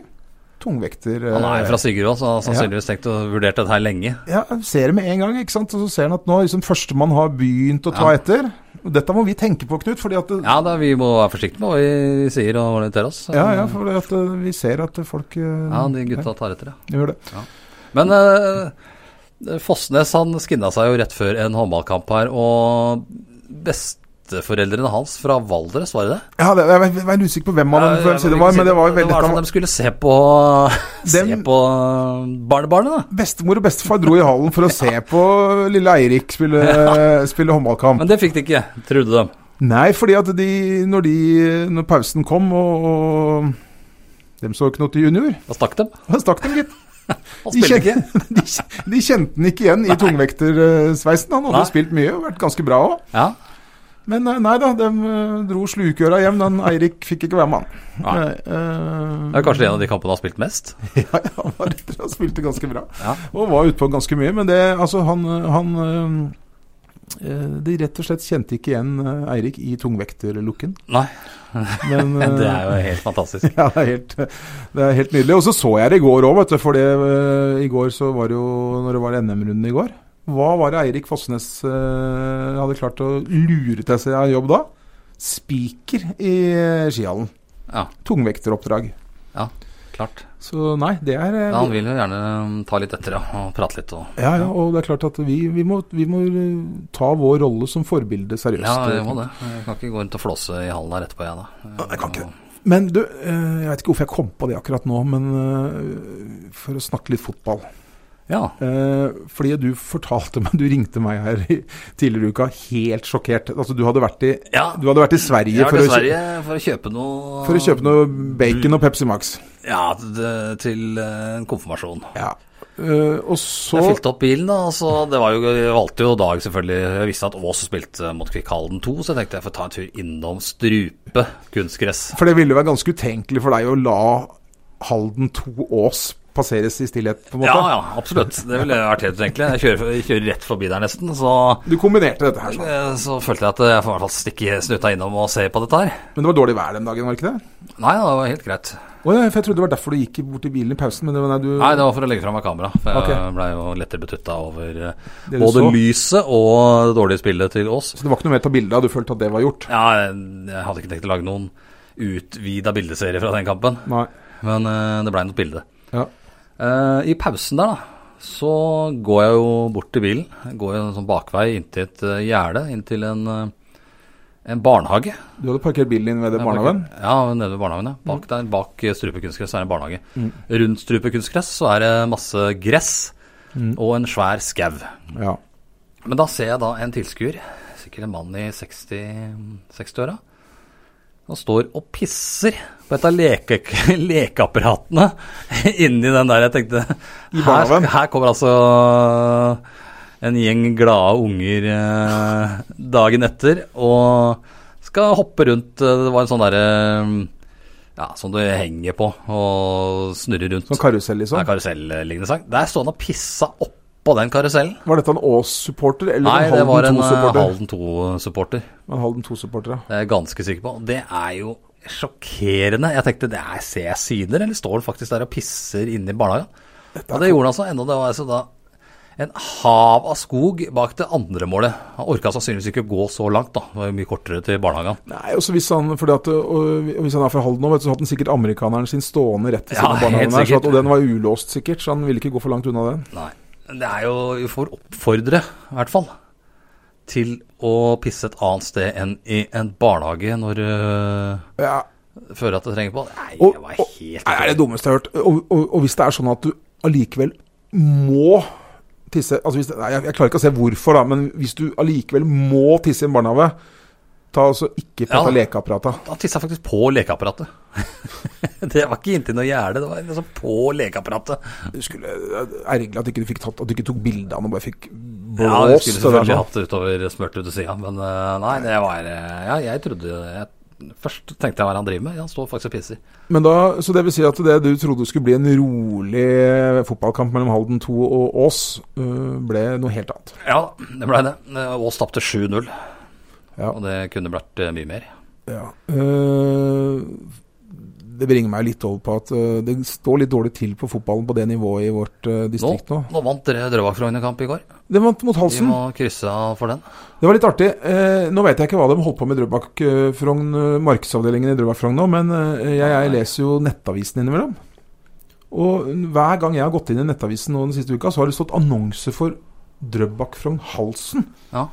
Speaker 2: Tungvekter.
Speaker 3: Han er
Speaker 2: eh,
Speaker 3: jo fra Sigurd også, så han har sannsynligvis tenkt å vurdert dette her lenge.
Speaker 2: Ja, ser det med en gang, ikke sant. Og så ser han at nå liksom førstemann har begynt å ta
Speaker 3: Ja.
Speaker 2: etter. Dette må vi tenke på, Knut, fordi at det,
Speaker 3: Ja, da, vi må være forsiktige med hva vi sier og orientere oss.
Speaker 2: Ja, ja, for at eh, vi ser at folk eh,
Speaker 3: Ja, de gutta tar etter, ja.
Speaker 2: ja, gjør det.
Speaker 3: Men eh, Fossnes han skinna seg jo rett før en håndballkamp her, og besteforeldrene hans fra Valdres, var det det?
Speaker 2: Ja, det, jeg var- jeg var litt usikker på hvem av dem, for å si det var, men det var jo veldig
Speaker 3: Det var sånn som de skulle se på, se
Speaker 2: Dem-
Speaker 3: på eh, barnebarnet, da.
Speaker 2: Bestemor og bestefar dro i hallen for å se på lille Eirik spille, spille håndballkamp.
Speaker 3: Men det fikk de ikke, trodde de.
Speaker 2: Nei, fordi at de Når, de, når pausen kom og, og Dem så ikke noe til junior.
Speaker 3: Da stakk de.
Speaker 2: Da stakk dem, gitt.
Speaker 3: Han
Speaker 2: De
Speaker 3: spilte ikke.
Speaker 2: kjente, de, kj- de kjente den ikke igjen i tungvektersveisen. Han hadde
Speaker 3: Nei.
Speaker 2: spilt mye og vært ganske bra òg.
Speaker 3: Ja.
Speaker 2: Men eh, nei da, de eh, dro slukøra hjem. Den Eirik fikk ikke være med, han. eh,
Speaker 3: Nei. Det er kanskje en av de kampene han har spilt mest.
Speaker 2: Ja, ja, han var rett og slett spilte ganske bra.
Speaker 3: Ja.
Speaker 2: Og var utpå ganske mye. Men det, altså, han, han eh, eh, De rett og slett kjente ikke igjen eh, Eirik i tungvekterlooken.
Speaker 3: Nei,
Speaker 2: Men eh,
Speaker 3: det er jo helt fantastisk.
Speaker 2: ja, det er helt, det er helt nydelig. Og så så jeg det i går òg, vet du. For det, eh, i går så var det jo Når det var NM-runden i går, hva var det Eirik Fossnes eh, hadde klart å lure til seg av jobb da? Spiker i eh, skihallen.
Speaker 3: Ja,
Speaker 2: Tungvekteroppdrag.
Speaker 3: klart.
Speaker 2: Så nei, det er eh,
Speaker 3: Ja, han vil jo gjerne um, ta litt etter ja, og prate litt. Og,
Speaker 2: Ja, ja, og det er klart at vi, vi, må, vi må eh, ta vår rolle som forbilde seriøst.
Speaker 3: ja, jeg må det. Jeg kan ikke gå rundt og flåse i hallen her etterpå, jeg da.
Speaker 2: Nei, jeg kan ikke
Speaker 3: det.
Speaker 2: Men du, eh, jeg vet ikke hvorfor jeg kom på det akkurat nå, men eh, for å snakke litt fotball.
Speaker 3: Ja.
Speaker 2: Eh, fordi du fortalte meg, du ringte meg her i tidligere i uka helt sjokkert. Altså, du hadde vært i,
Speaker 3: ja.
Speaker 2: du hadde vært i Sverige,
Speaker 3: Jeg har
Speaker 2: for, å,
Speaker 3: til
Speaker 2: kjø-
Speaker 3: Sverige for å kjøpe noe
Speaker 2: for å kjøpe noe bacon og Pepsi Max.
Speaker 3: Ja, det- til eh, en konfirmasjon.
Speaker 2: Ja. Eh, og så
Speaker 3: Jeg fylte opp bilen, da. og Så det var jo, jeg valgte jo dag, selvfølgelig. Jeg visste at Ås spilte mot Kvikkhalden 2, så jeg tenkte jeg får ta en tur innom Strupe kunstgress.
Speaker 2: For det ville jo være ganske utenkelig for deg å la Halden 2 Ås passeres i stillhet, på en
Speaker 3: Ja,
Speaker 2: måte.
Speaker 3: ja, absolutt. Det ville vært helt utenkelig. Jeg kjører, jeg kjører rett forbi der nesten, så
Speaker 2: Du kombinerte dette her, sånn.
Speaker 3: eh, så følte jeg at jeg får i hvert fall stikke snuta innom og se på dette her.
Speaker 2: Men det var dårlig vær den dagen, var det ikke det?
Speaker 3: Nei, det var helt greit.
Speaker 2: Å, ja, for jeg trodde det var derfor du gikk bort i bilen i pausen, men det var nei, du
Speaker 3: Nei, det var for å legge fra meg kamera. For jeg
Speaker 2: Ok.
Speaker 3: blei jo lettere betutta over eh,
Speaker 2: Det du
Speaker 3: både
Speaker 2: så.
Speaker 3: lyset og det dårlige spillet til Ås.
Speaker 2: Så det var ikke noe mer å ta bilde av, du følte at det var gjort?
Speaker 3: Ja, jeg hadde ikke tenkt å lage noen utvida bildeserie fra den kampen,
Speaker 2: Nei.
Speaker 3: men eh, det blei noe bilde.
Speaker 2: Ja.
Speaker 3: Eh, I pausen der, da, så går jeg jo bort til bilen. Jeg går jo en sånn bakvei inntil et eh, gjerde, inntil en, eh, en barnehage.
Speaker 2: Du hadde parkert bilen din ved det barnehagen?
Speaker 3: Ja, nede ved barnehagen. ja. Bak der, bak eh, Strupe kunstgress, så er det en barnehage. Rundt Strupe kunstgress så er det masse gress og en svær skau.
Speaker 2: Ja.
Speaker 3: Men da ser jeg da en tilskuer, sikkert en mann i 60 60-åra, som står og pisser på et av leke, lekeapparatene inni den der. Jeg tenkte her,
Speaker 2: barnehagen?
Speaker 3: skal- her kommer altså en gjeng glade unger eh, dagen etter og skal hoppe rundt. eh, Det var en sånn derre ja, som du henger på og snurrer rundt.
Speaker 2: Sånn karusell, liksom?
Speaker 3: Det er Karusell-lignende sak. Der står han og pissa oppå den karusellen.
Speaker 2: Var dette en Ås-supporter eller
Speaker 3: Nei, det
Speaker 2: en
Speaker 3: var en
Speaker 2: Halden 2-supporter?
Speaker 3: eh, Halden 2-supporter.
Speaker 2: En Halden 2-supporter, ja.
Speaker 3: Det er jeg ganske sikker på. Og Det er jo sjokkerende. Jeg tenkte det er ser jeg syner, eller står han faktisk der og pisser inne i barnehagen? Og det gjorde han altså ennå. Det var altså da en hav av skog bak det andre målet. Han orka sannsynligvis ikke å gå så langt, da. Det var jo mye kortere til barnehagen.
Speaker 2: Nei, også hvis han, fordi at, og hvis han er fra Halden nå, vet du, så hadde han sikkert amerikaneren sin stående rett ved
Speaker 3: Ja,
Speaker 2: siden av
Speaker 3: helt
Speaker 2: barnehagen her. Så
Speaker 3: sikkert.
Speaker 2: at, og den var ulåst sikkert, så han ville ikke gå for langt unna den.
Speaker 3: Nei. Det er jo Vi får oppfordre, i hvert fall, til å pisse et annet sted enn i en barnehage når du
Speaker 2: Ja,
Speaker 3: føler at du trenger på. Nei,
Speaker 2: og,
Speaker 3: det var
Speaker 2: og, nei,
Speaker 3: helt
Speaker 2: det er det dummeste jeg har hørt. Og, og, og hvis det er sånn at du allikevel må tisse altså hvis det, nei, jeg, jeg klarer ikke å se hvorfor, da, men hvis du allikevel må tisse i en barnehage, ta altså ikke på
Speaker 3: Ja.
Speaker 2: dette lekeapparatet.
Speaker 3: Han tissa faktisk på lekeapparatet. det var ikke inntil noe gjerde, det var liksom på lekeapparatet.
Speaker 2: Du skulle, jeg er egentlig at du ikke fikk tatt, at du ikke tok bilde av den og bare fikk
Speaker 3: Ja,
Speaker 2: blåst. det
Speaker 3: jeg skulle
Speaker 2: der
Speaker 3: selvfølgelig
Speaker 2: sånn.
Speaker 3: hatt det utover smurt ut til sida, men eh, nei, det var eh, Ja, jeg trodde jeg, Først tenkte jeg hva er det han driver med, han står faktisk og pisser.
Speaker 2: Men da, så det vil si at det du trodde skulle bli en rolig fotballkamp mellom Halden 2 og Ås, øh, ble noe helt annet.
Speaker 3: Ja, det blei det. Eh, Aas tapte 7-0,
Speaker 2: Ja.
Speaker 3: og det kunne vært eh, mye mer.
Speaker 2: Ja. Øh, det bringer meg litt over på at øh, det står litt dårlig til på fotballen på det nivået i vårt øh,
Speaker 3: Nå,
Speaker 2: distrikt nå.
Speaker 3: nå vant dere Drøbak-Frogner kamp i går.
Speaker 2: Det vant mot
Speaker 3: Vi
Speaker 2: halsen.
Speaker 3: må krysse av for den.
Speaker 2: Det var litt artig. Eh, nå vet jeg ikke hva de holdt på med i Drøbak øh, Frogn, øh, markedsavdelingen i Drøbak Frogn nå, men øh, jeg, jeg leser jo Nettavisen innimellom. Og hver gang jeg har gått inn i Nettavisen nå den siste uka, så har det stått annonse for Drøbak Frogn Halsen
Speaker 3: Ja,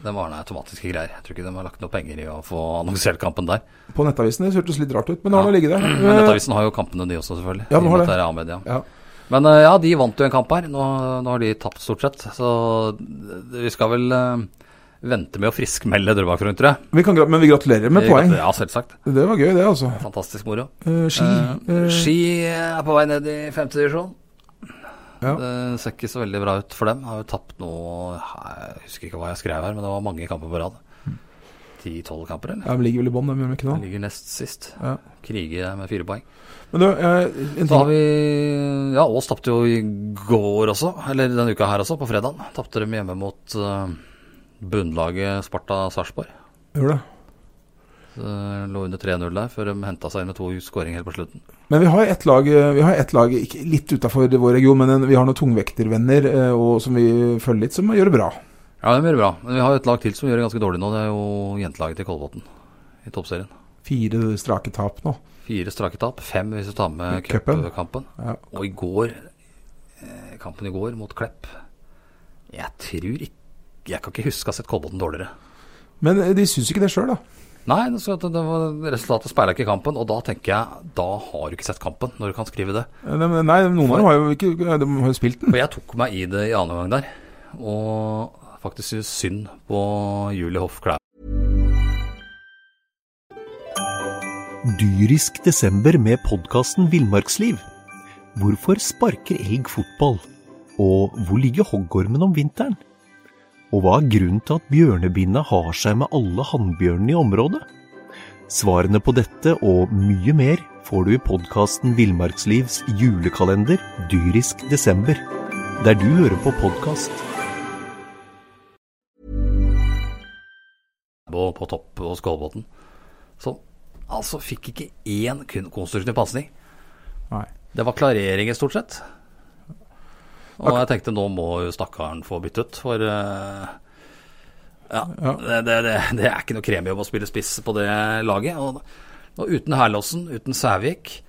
Speaker 3: det var noen automatiske greier. Jeg tror ikke de har lagt noe penger i å få annonsert kampen der.
Speaker 2: på Nettavisen. Det hørtes litt rart ut, men nå har det ligget der.
Speaker 3: Men Nettavisen har jo kampene de også, selvfølgelig.
Speaker 2: Ja, de
Speaker 3: i og
Speaker 2: har
Speaker 3: med
Speaker 2: det.
Speaker 3: at er A-media.
Speaker 2: Ja.
Speaker 3: Men eh, ja, de vant jo en kamp her. Nå, nå har de tapt stort sett. Så d- vi skal vel eh, vente med å friskmelde Drøbak Frogn, tror jeg.
Speaker 2: Eh, vi kan, gra- men vi gratulerer med poeng.
Speaker 3: Ja, selvsagt.
Speaker 2: Det var gøy, det, altså.
Speaker 3: Fantastisk moro.
Speaker 2: Eh, ski.
Speaker 3: Eh,
Speaker 2: eh,
Speaker 3: Ski er på vei ned i femte divisjon.
Speaker 2: Ja.
Speaker 3: Det ser ikke så veldig bra ut for dem. Har jo tapt nå eh, Jeg husker ikke hva jeg skrev her, men det var mange kamper på rad. Ti-tolv kamper, eller?
Speaker 2: Mm. Ja, men ligger vel i bånn, dem gjør de ikke
Speaker 3: Jeg
Speaker 2: det?
Speaker 3: ligger nest sist.
Speaker 2: Ja.
Speaker 3: Krige med fire poeng.
Speaker 2: Men du, eh, en
Speaker 3: Da
Speaker 2: ting,
Speaker 3: har vi Ja, Ås tapte jo i går også, eller denne uka her også, på fredag. Tapte dem hjemme mot eh, bunnlaget Sparta Sarpsborg.
Speaker 2: gjør det.
Speaker 3: Eh, Lå under 3-0 der før de henta seg inn med to skåringer helt på slutten.
Speaker 2: Men vi har ett lag, eh, vi har ett lag ikke litt utafor vår region, men en, vi har noen tungvektervenner eh, og, som vi følger litt, som gjør det bra.
Speaker 3: Ja, de gjør det bra. Men vi har jo et lag til som gjør det ganske dårlig nå. Det er jo jentelaget til Kolbotn i toppserien.
Speaker 2: Fire strake tap nå.
Speaker 3: Fire strake tap. Fem hvis du tar med
Speaker 2: Cupen.
Speaker 3: cupkampen.
Speaker 2: Ja.
Speaker 3: Og i går eh, Kampen i går mot Klepp Jeg tror ikke Jeg kan ikke huske å ha sett Kolbotn dårligere.
Speaker 2: Men eh, de syns ikke det sjøl, da.
Speaker 3: Nei, det, så at det var, resultatet speila ikke kampen, og da tenker jeg da har du ikke sett kampen når du kan skrive det.
Speaker 2: Eh, de- Nei, noen av dem har jo ikke De har jo spilt den.
Speaker 3: For jeg tok meg i det i annen omgang der, og faktisk synes synd på Julie Hoff Klæbo.
Speaker 4: Dyrisk desember med podkasten Villmarksliv. Hvorfor sparker elg fotball? Og hvor ligger hoggormen om vinteren? Og hva er grunnen til at bjørnebinna har seg med alle hannbjørnene i området? Svarene på dette og mye mer får du i podkasten Villmarkslivs julekalender Dyrisk desember, der du hører på podkast.
Speaker 3: på topp og Skålbotn, som altså fikk ikke én kun konstruktiv pasning.
Speaker 2: Nei.
Speaker 3: Det var klareringer, stort sett. Og jeg tenkte nå må jo stakkaren få byttet, for eh, ja,
Speaker 2: Ja.
Speaker 3: Det, det, det, det er ikke noe kremjobb å spille spiss på det laget. Og, og uten Herlåsen, uten Sævik,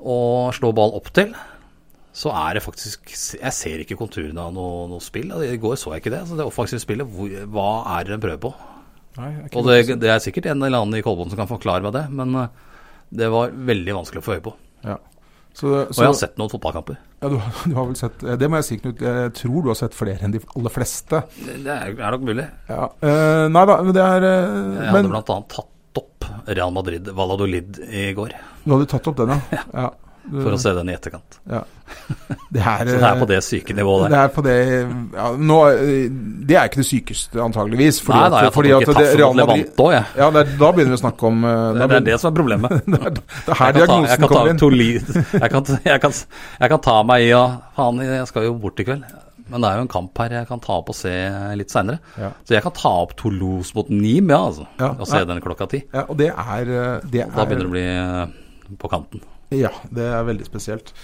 Speaker 3: og slå ball opp til, så er det faktisk Jeg ser ikke konturene av noe, noe spill. Og I går så jeg ikke det. Så det offensive spillet, hvor, hva er det de prøver på?
Speaker 2: Nei, det altså. er ikke
Speaker 3: Og det, det er sikkert en eller annen i Kolbotn som kan forklare meg det, men eh, det var veldig vanskelig å få øye på.
Speaker 2: Ja. Så,
Speaker 3: Og jeg har
Speaker 2: så
Speaker 3: sett noen fotballkamper.
Speaker 2: ja, du, har- du har vel sett eh, Det må jeg si, Knut. Jeg tror du har sett flere enn de aller fleste.
Speaker 3: Det det er, er nok mulig.
Speaker 2: Ja. eh, nei da, men det er eh,
Speaker 3: Jeg
Speaker 2: Men
Speaker 3: hadde bl.a. tatt opp Real Madrid Valladolid i går,
Speaker 2: du hadde tatt opp den, ja. ja. Du-
Speaker 3: for å se den i etterkant.
Speaker 2: ja. Det er,
Speaker 3: Så det er
Speaker 2: eh,
Speaker 3: på det syke nivået
Speaker 2: Det
Speaker 3: der.
Speaker 2: er på det ja, nå, eh, Det er ikke det sykeste, antageligvis.
Speaker 3: Nei, da, jeg har fått ikke tatt mot Levante òg, jeg.
Speaker 2: Ja, det er, da begynner vi å snakke om eh,
Speaker 3: Det
Speaker 2: da
Speaker 3: er- det er
Speaker 2: begynner-
Speaker 3: det som er problemet.
Speaker 2: det er her
Speaker 3: Jeg kan ta- jeg
Speaker 2: diagnosen
Speaker 3: kan ta
Speaker 2: kommer inn.
Speaker 3: Toli- jeg kan, jeg, kan, jeg kan ta meg i å Faen, jeg skal jo bort i kveld. Men det er jo en kamp her jeg kan ta opp og se litt seinere.
Speaker 2: Ja.
Speaker 3: Så jeg kan ta opp Toulouse mot Nîmes, ja, altså.
Speaker 2: Ja.
Speaker 3: Og se
Speaker 2: Ja.
Speaker 3: den klokka ti.
Speaker 2: Ja, og det er, eh, det er
Speaker 3: Da begynner det å bli eh, på kanten.
Speaker 2: Ja, det er veldig spesielt.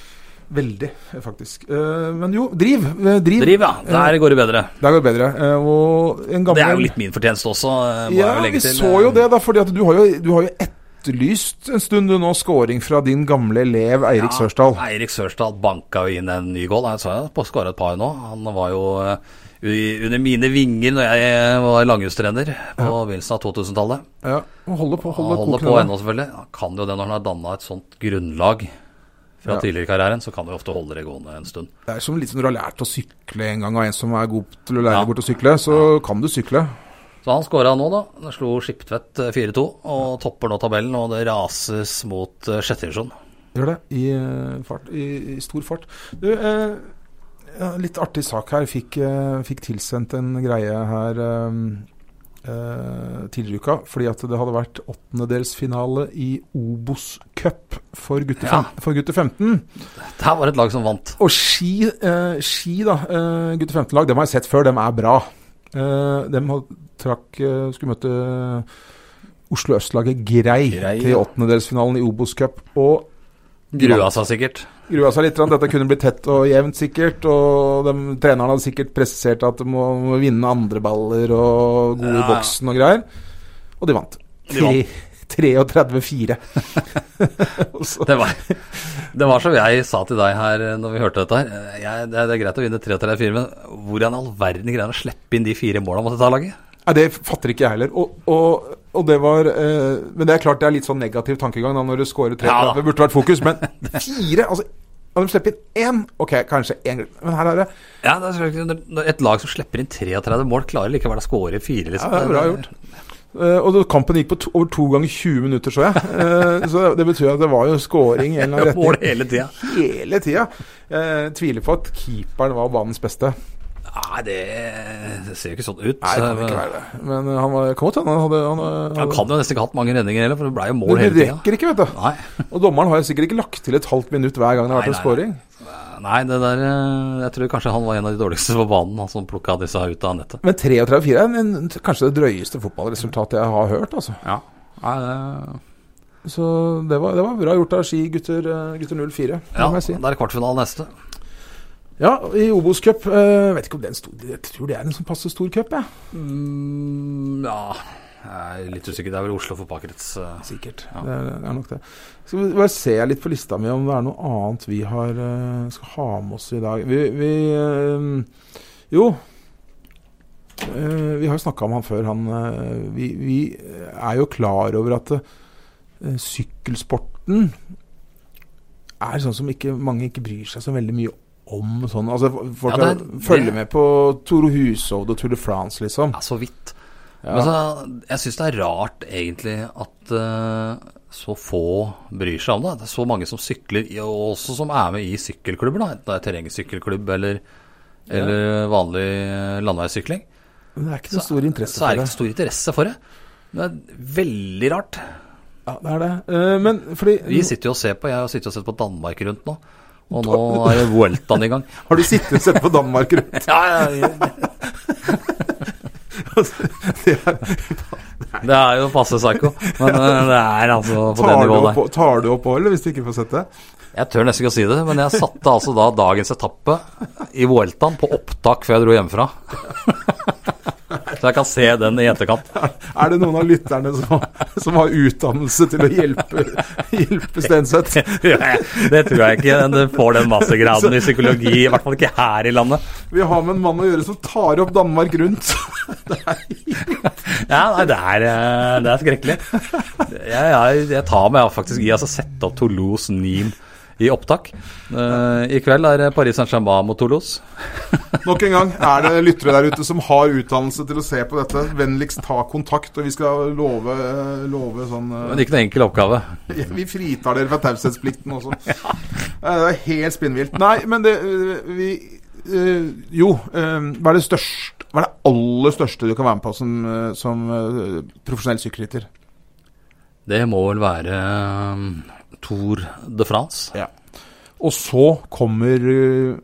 Speaker 2: Veldig, eh, faktisk. Eh, men jo, driv. eh, Driv.
Speaker 3: Driv, ja. Der går det bedre.
Speaker 2: Der går det bedre. Eh, og en gammel
Speaker 3: Det er jo litt min fortjeneste også, eh, må jeg
Speaker 2: Ja,
Speaker 3: jo
Speaker 2: vi
Speaker 3: legge til.
Speaker 2: så jo det, da. Fordi at du har jo, du har jo etterlyst en stund du nå scoring fra din gamle elev Eirik Sørsdal.
Speaker 3: Eirik Sørsdal banka jo inn en ny goal. Jeg så han skåra et par nå. Han var jo eh, u- under mine vinger når jeg eh, var langhustrener på begynnelsen av 2000-tallet.
Speaker 2: Ja, og holder på,
Speaker 3: Han
Speaker 2: holder
Speaker 3: holder på
Speaker 2: kokende.
Speaker 3: ennå, selvfølgelig. Han kan jo det når han har danna et sånt grunnlag fra
Speaker 2: Ja.
Speaker 3: tidligere i karrieren, så kan du ofte holde det gående en stund.
Speaker 2: Det er som litt som når du har lært å sykle en gang, og en som er god til å lære
Speaker 3: Ja.
Speaker 2: deg bort å sykle, så kan du sykle.
Speaker 3: Så han skåra nå, da. Han Slo Skiptvedt eh, 4-2 og topper nå tabellen, og det rases mot eh, sjette divisjon.
Speaker 2: Gjør det. I, eh, fart, i, i stor fart. Du, eh, ja, litt artig sak her. Fikk, eh, fikk tilsendt en greie her eh, eh, tidligere i uka. Fordi at det hadde vært åttendedelsfinale i Obos Cup for gutter,
Speaker 3: Ja.
Speaker 2: fem, for gutter 15.
Speaker 3: Det her var et lag som vant.
Speaker 2: Og Ski, eh, ski da, eh, gutter 15-lag, dem har jeg sett før, dem er bra. Eh, dem har- trakk, eh, skulle møte Oslo Østlaget Grei,
Speaker 3: Grei,
Speaker 2: til
Speaker 3: ja.
Speaker 2: åttendedelsfinalen i Obos Cup. Og
Speaker 3: Grua seg sikkert.
Speaker 2: grua seg litt, grann. dette kunne bli tett og jevnt sikkert. Og dem- treneren hadde sikkert presisert at de må, må vinne andre baller og gode i
Speaker 3: Ja, ja.
Speaker 2: boksen og greier. Og de vant.
Speaker 3: De vant.
Speaker 2: Tre- 33-4. Og så-
Speaker 3: Det var, det var som jeg sa til deg her eh, når vi hørte dette her. Eh, Jeg, det, er- det er greit å vinne 3-3-4, men hvordan i all verden greier han å slippe inn de fire måla mot dette laget?
Speaker 2: Nei, Det fatter ikke jeg heller. Og, og, og det var eh, Men det er klart det er litt sånn negativ tankegang da når du scorer tre.
Speaker 3: Ja da.
Speaker 2: det burde vært fokus, men fire altså, Og de slipper inn én! Ok, kanskje én Men her er det
Speaker 3: Ja, det er selvfølgelig- når- Når et lag som slipper inn 33 mål, klarer likevel å skåre fire,
Speaker 2: ja,
Speaker 3: liksom.
Speaker 2: det er bra gjort. Eh, og da kampen gikk på to, over to ganger 20 minutter, så jeg. Eh, så det betyr at det var jo scoring i en eller annen
Speaker 3: Mål
Speaker 2: retning
Speaker 3: hele tida.
Speaker 2: hele tida. Eh, tviler på at keeperen var banens beste.
Speaker 3: Nei, det, det ser jo ikke sånn ut.
Speaker 2: Nei, det kan ikke være det. Men eh, han var, kan godt hende han hadde, han, eh,
Speaker 3: Han kan jo nesten ikke ha hatt mange redninger heller, for det blei jo mål
Speaker 2: Det
Speaker 3: hele tida.
Speaker 2: rekker ikke, vet du.
Speaker 3: Nei.
Speaker 2: Og dommeren har jo sikkert ikke lagt til et halvt minutt hver gang det har
Speaker 3: Nei,
Speaker 2: vært en
Speaker 3: nei,
Speaker 2: scoring.
Speaker 3: Nei, det der eh, Jeg tror kanskje han var en av de dårligste på banen, han som plukka disse ut av nettet.
Speaker 2: Men 33-4 er en, en, kanskje det drøyeste fotballresultatet jeg har hørt. Altså.
Speaker 3: Ja. Nei, det-
Speaker 2: Så det var, det var bra gjort av Ski gutter, eh, gutter 04, det
Speaker 3: ja,
Speaker 2: må jeg si.
Speaker 3: da er det kvartfinale neste.
Speaker 2: Ja, i Obos cup eh, Vet ikke om det er en stor Jeg tror det er en sånn passe stor cup, jeg.
Speaker 3: Mm, ja Jeg er litt usikker. Det er vel Oslo fotballkrets. eh.
Speaker 2: Sikkert.
Speaker 3: Ja.
Speaker 2: Det, er, det er nok det. Skal vi bare se litt på lista mi om det er noe annet vi har, eh, skal ha med oss i dag. Vi, vi eh, Jo. eh, Vi har jo snakka om han før. Han, eh, vi, vi er jo klar over at eh, sykkelsporten er sånn som ikke, mange ikke bryr seg så veldig mye om. Sånn. Altså, folk
Speaker 3: Ja, det er-
Speaker 2: følger
Speaker 3: det-
Speaker 2: med på Toro Hushovd og Tour de France, liksom.
Speaker 3: Ja, så vidt.
Speaker 2: Ja.
Speaker 3: Men så, jeg syns det er rart egentlig at eh, så få bryr seg om det. Det er så mange som sykler, i- og også som er med i sykkelklubber. da, Enten det er terrengsykkelklubb eller, eller vanlig eh, landeveissykling.
Speaker 2: Men det er ikke så stor interesse
Speaker 3: så er
Speaker 2: for
Speaker 3: det
Speaker 2: det.
Speaker 3: ikke stor interesse for det. Det er veldig rart.
Speaker 2: Ja, det er det. Eh, men fordi
Speaker 3: Vi sitter jo og ser på, jeg har sittet og sett på Danmark rundt nå. Og nå er jo Vueltaen i gang.
Speaker 2: Har du sittet og sett på Danmark rundt?
Speaker 3: Ja, ja, ja.
Speaker 2: Det er,
Speaker 3: Det er jo passe psycho, men eh, det er altså på det
Speaker 2: tar, du
Speaker 3: nivået der.
Speaker 2: opp, tar du opp hålet hvis du ikke får sett det?
Speaker 3: Jeg tør nesten ikke å si det, men jeg satte altså da dagens etappe i Vueltaen på opptak før jeg dro hjemmefra. Så jeg kan se den i etterkant.
Speaker 2: Er det noen av lytterne som, som har utdannelse til å hjelpe, hjelpe Stenseth?
Speaker 3: Det tror jeg ikke. Den får den massegraden i psykologi, i hvert fall ikke her i landet.
Speaker 2: Vi har med en mann å gjøre som tar opp Danmark rundt.
Speaker 3: Ja, nei, det er, eh, det er skrekkelig. Jeg, jeg, jeg tar meg faktisk i å altså, sette opp Toulouse Nîmes i opptak. Eh, I kveld er det Paris Saint-Germain mot Toulouse.
Speaker 2: Nok en gang er det lyttere der ute som har utdannelse til å se på dette. Vennligst ta kontakt, og vi skal love, love sånn
Speaker 3: Men ikke noen enkel oppgave.
Speaker 2: Ja, Vi fritar dere fra taushetsplikten også. Eh, Det er helt spinnvilt. Nei, men det eh, vi, eh, Jo, eh, hva er det størst Hva er det aller største du kan være med på som, eh, som eh, profesjonell sykkelrytter?
Speaker 3: Det må vel være eh, Tour de France.
Speaker 2: Og så kommer eh,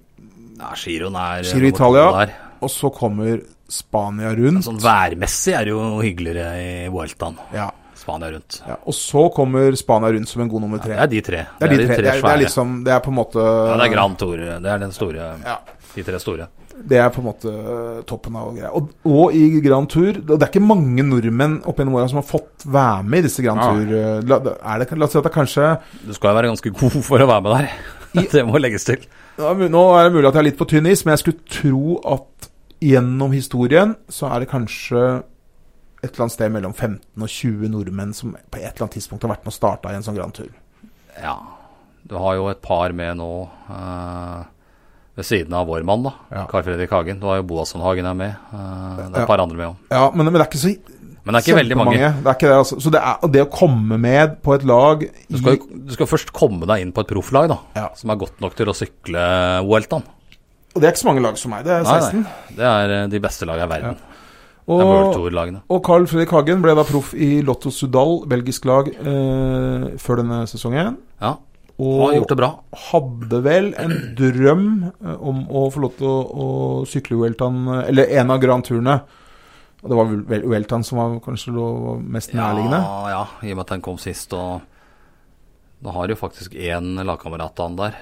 Speaker 3: Ja, Giroen er eh,
Speaker 2: Giro
Speaker 3: nummer to
Speaker 2: Italia.
Speaker 3: der.
Speaker 2: Og så kommer Spania rundt.
Speaker 3: Sånn værmessig er det jo hyggeligere i Vueltaen.
Speaker 2: Ja,
Speaker 3: Spania rundt.
Speaker 2: ja. Og så kommer Spania rundt som en god nummer tre.
Speaker 3: Det er de tre.
Speaker 2: Det er de tre. Det er, det er
Speaker 3: svære.
Speaker 2: liksom Det er på en måte
Speaker 3: ja, det er Grand Tour. Det er den store.
Speaker 2: Ja.
Speaker 3: De tre store.
Speaker 2: Det er på en måte øh, toppen av greia. Og, og i Grand Tour Det det er ikke mange nordmenn opp gjennom åra som har fått være med i disse Grand
Speaker 3: Ja.
Speaker 2: Tour. øh, La, er det, la oss si at det kanskje
Speaker 3: Du skal jo være ganske god for å være med der. Det må legges til.
Speaker 2: Ja, mu- Nå er det mulig at jeg er litt på tynn is, men jeg skulle tro at gjennom historien så er det kanskje et eller annet sted mellom 15 og 20 nordmenn som på et eller annet tidspunkt har vært med og starta i en sånn Grand Tour.
Speaker 3: Ja. Du har jo et par med nå eh, ved siden av vår mann, da.
Speaker 2: Ja.
Speaker 3: Carl Fredrik Hagen. Du har jo Boasson Hagen er med. eh, det er
Speaker 2: Ja.
Speaker 3: et par andre med òg.
Speaker 2: Ja, men, men det er ikke så
Speaker 3: Men det er ikke veldig mange.
Speaker 2: kjempemange. Det er ikke det, altså. Så det, er, og det å komme med på et lag
Speaker 3: Du skal, jo- du skal først komme deg inn på et profflag da,
Speaker 2: Ja.
Speaker 3: som er godt nok til å sykle Vueltaen.
Speaker 2: Og det er ikke så mange lag som meg, det er
Speaker 3: Nei,
Speaker 2: 16.
Speaker 3: nei. Det er eh, de beste lagene i verden. Det er
Speaker 2: Og,
Speaker 3: World Tour-lagene.
Speaker 2: Og Carl Fredrik Hagen ble da proff i Lotto Sudal, belgisk lag, eh, før denne sesongen.
Speaker 3: Ja,
Speaker 2: Og
Speaker 3: han har gjort det bra.
Speaker 2: hadde vel en drøm eh, om å få lov til å, å sykle Ueltan, eller en av Grand Turene. Og det var vel- vel Ueltan som var kanskje lå mest nærliggende.
Speaker 3: Ja, ja, i og med at han kom sist. Og nå har jo faktisk én lagkamerat av han der,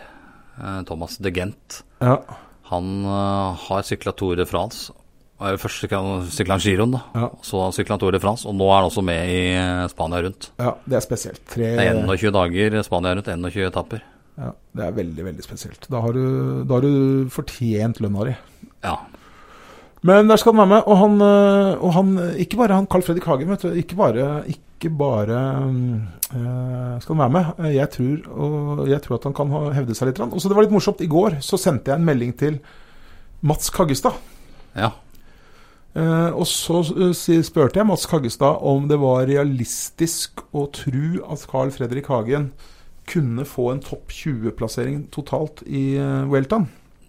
Speaker 3: eh, Thomas de Gent.
Speaker 2: Ja.
Speaker 3: Han eh, har sykla Tour de France. Og, eh, Først sykla han- sykla han Giroen, da.
Speaker 2: Ja.
Speaker 3: Så sykla han Tour de France, og nå er han også med i eh, Spania rundt.
Speaker 2: ja, det er spesielt. Tre,
Speaker 3: Det er 21 dager Spania rundt, 21 etapper.
Speaker 2: ja, det er veldig, veldig spesielt. Da har du, da har du fortjent lønna di.
Speaker 3: Ja.
Speaker 2: Men der skal han være med. Og han, øh, og han øh, ikke bare han Carl Fredrik Hagen, vet du. Ikke bare, ikke bare mm, øh, skal han være med. Eh, Jeg tror, og jeg tror at han kan ha- hevde seg litt. grann. Og så det var litt morsomt. I går så sendte jeg en melding til Mats Kaggestad.
Speaker 3: ja.
Speaker 2: Eh, og så eh, si- spurte jeg Mats Kaggestad om det var realistisk å tro at Carl Fredrik Hagen kunne få en topp 20-plassering totalt i uh, Welton.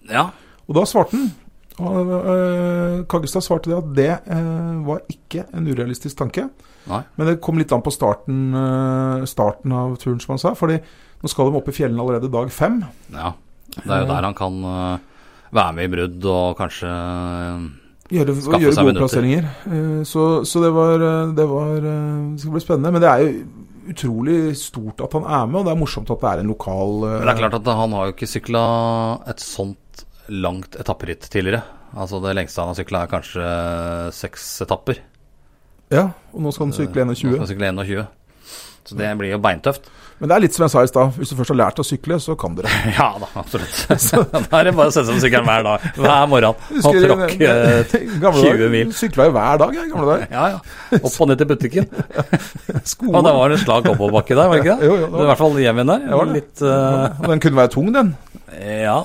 Speaker 3: Ja.
Speaker 2: Og da svarte han. Og, øh, Kaggestad svarte det at det øh, var ikke en urealistisk tanke.
Speaker 3: Nei.
Speaker 2: Men det kom litt an på starten, øh, starten av turen, som han sa. Fordi nå skal de opp i fjellene allerede dag fem.
Speaker 3: ja. Det er jo der han kan eh, være med i brudd og kanskje eh,
Speaker 2: Gjøre,
Speaker 3: Skaffe
Speaker 2: gjøre gode
Speaker 3: seg minutter.
Speaker 2: plasseringer. Eh, så så det, var, øh, det, var, øh, det skal bli spennende. Men det er jo utrolig stort at han er med, og det er morsomt at det er en lokal øh,
Speaker 3: Men det er klart at han har jo ikke sykla et sånt langt etapperitt tidligere. Altså Det lengste han har sykla, er kanskje eh, seks etapper.
Speaker 2: Ja, og nå skal han sykle
Speaker 3: Eh, Nå skal
Speaker 2: 21.
Speaker 3: han sykle 21. Så det blir jo beintøft.
Speaker 2: Men det er litt som jeg sa i stad, hvis du først har lært å sykle, så kan dere.
Speaker 3: Ja da, absolutt. da er det bare å sette seg på sykkelen hver dag, hver morgen og tråkke eh,
Speaker 2: gamle
Speaker 3: 20
Speaker 2: dager,
Speaker 3: mil.
Speaker 2: Sykla jo hver dag, jeg, i gamle dager.
Speaker 3: Ja, ja. Opp og ned til butikken.
Speaker 2: Skolen.
Speaker 3: Og da var det en slak oppoverbakke der, var det ikke det?
Speaker 2: Jo, jo, det var
Speaker 3: I hvert fall hjem igjen der.
Speaker 2: Det var det.
Speaker 3: Litt eh,
Speaker 2: Den kunne være tung, den.
Speaker 3: Ja.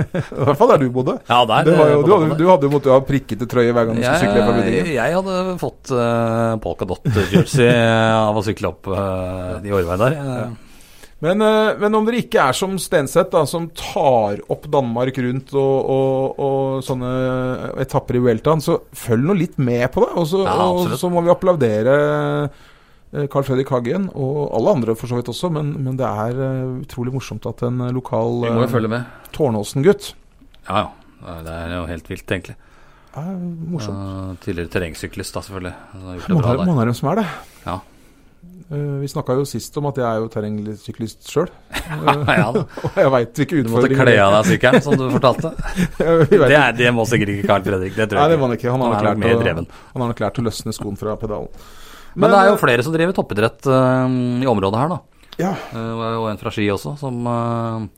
Speaker 2: I hvert fall der du bodde.
Speaker 3: Ja, der.
Speaker 2: Det var jo,
Speaker 3: eh,
Speaker 2: du, hadde,
Speaker 3: på toppen der.
Speaker 2: du hadde jo måttet ha prikkete trøye hver gang du skulle sykle fra
Speaker 3: jeg,
Speaker 2: butikken.
Speaker 3: jeg hadde fått uh, polkadott-jersey av å sykle opp eh, i Årveien der. Eh,
Speaker 2: Men, eh, men om dere ikke er som Stenseth, da, som tar opp Danmark rundt og, og, og sånne etapper i Vueltaen, så følg nå litt med på det. Og så,
Speaker 3: Ja, absolutt.
Speaker 2: og så må vi applaudere eh, Carl Fredrik Hagen, og alle andre for så vidt også, men, men det er eh, utrolig morsomt at en lokal
Speaker 3: Vi må jo
Speaker 2: eh,
Speaker 3: følge med.
Speaker 2: Tårnåsen-gutt
Speaker 3: Ja, ja. Det er jo helt vilt, egentlig.
Speaker 2: er morsomt.
Speaker 3: Eh, tidligere terrengsyklist, da, selvfølgelig. Han har gjort det
Speaker 2: Mange
Speaker 3: bra
Speaker 2: er-
Speaker 3: der.
Speaker 2: mange av dem som er det.
Speaker 3: Ja.
Speaker 2: Eh, Vi snakka jo sist om at jeg er jo terrengsyklist sjøl,
Speaker 3: ja da.
Speaker 2: og jeg veit hvilke
Speaker 3: Du måtte
Speaker 2: utfordringer
Speaker 3: kle av deg sykkelen, som du fortalte.
Speaker 2: Vi vet
Speaker 3: Det, er, det må sikkert ikke Carl Fredrik. Det
Speaker 2: Nei,
Speaker 3: tror
Speaker 2: det
Speaker 3: jeg
Speaker 2: var han
Speaker 3: ikke.
Speaker 2: ikke. Han har,
Speaker 3: Han
Speaker 2: nok
Speaker 3: er nok
Speaker 2: lært
Speaker 3: mer
Speaker 2: å-
Speaker 3: dreven.
Speaker 2: han har nok lært å løsne skoen fra pedalen.
Speaker 3: Men det er jo
Speaker 2: eh,
Speaker 3: flere som driver toppidrett eh, i området her, da.
Speaker 2: Ja,
Speaker 3: Eh, og en fra Ski også, som eh,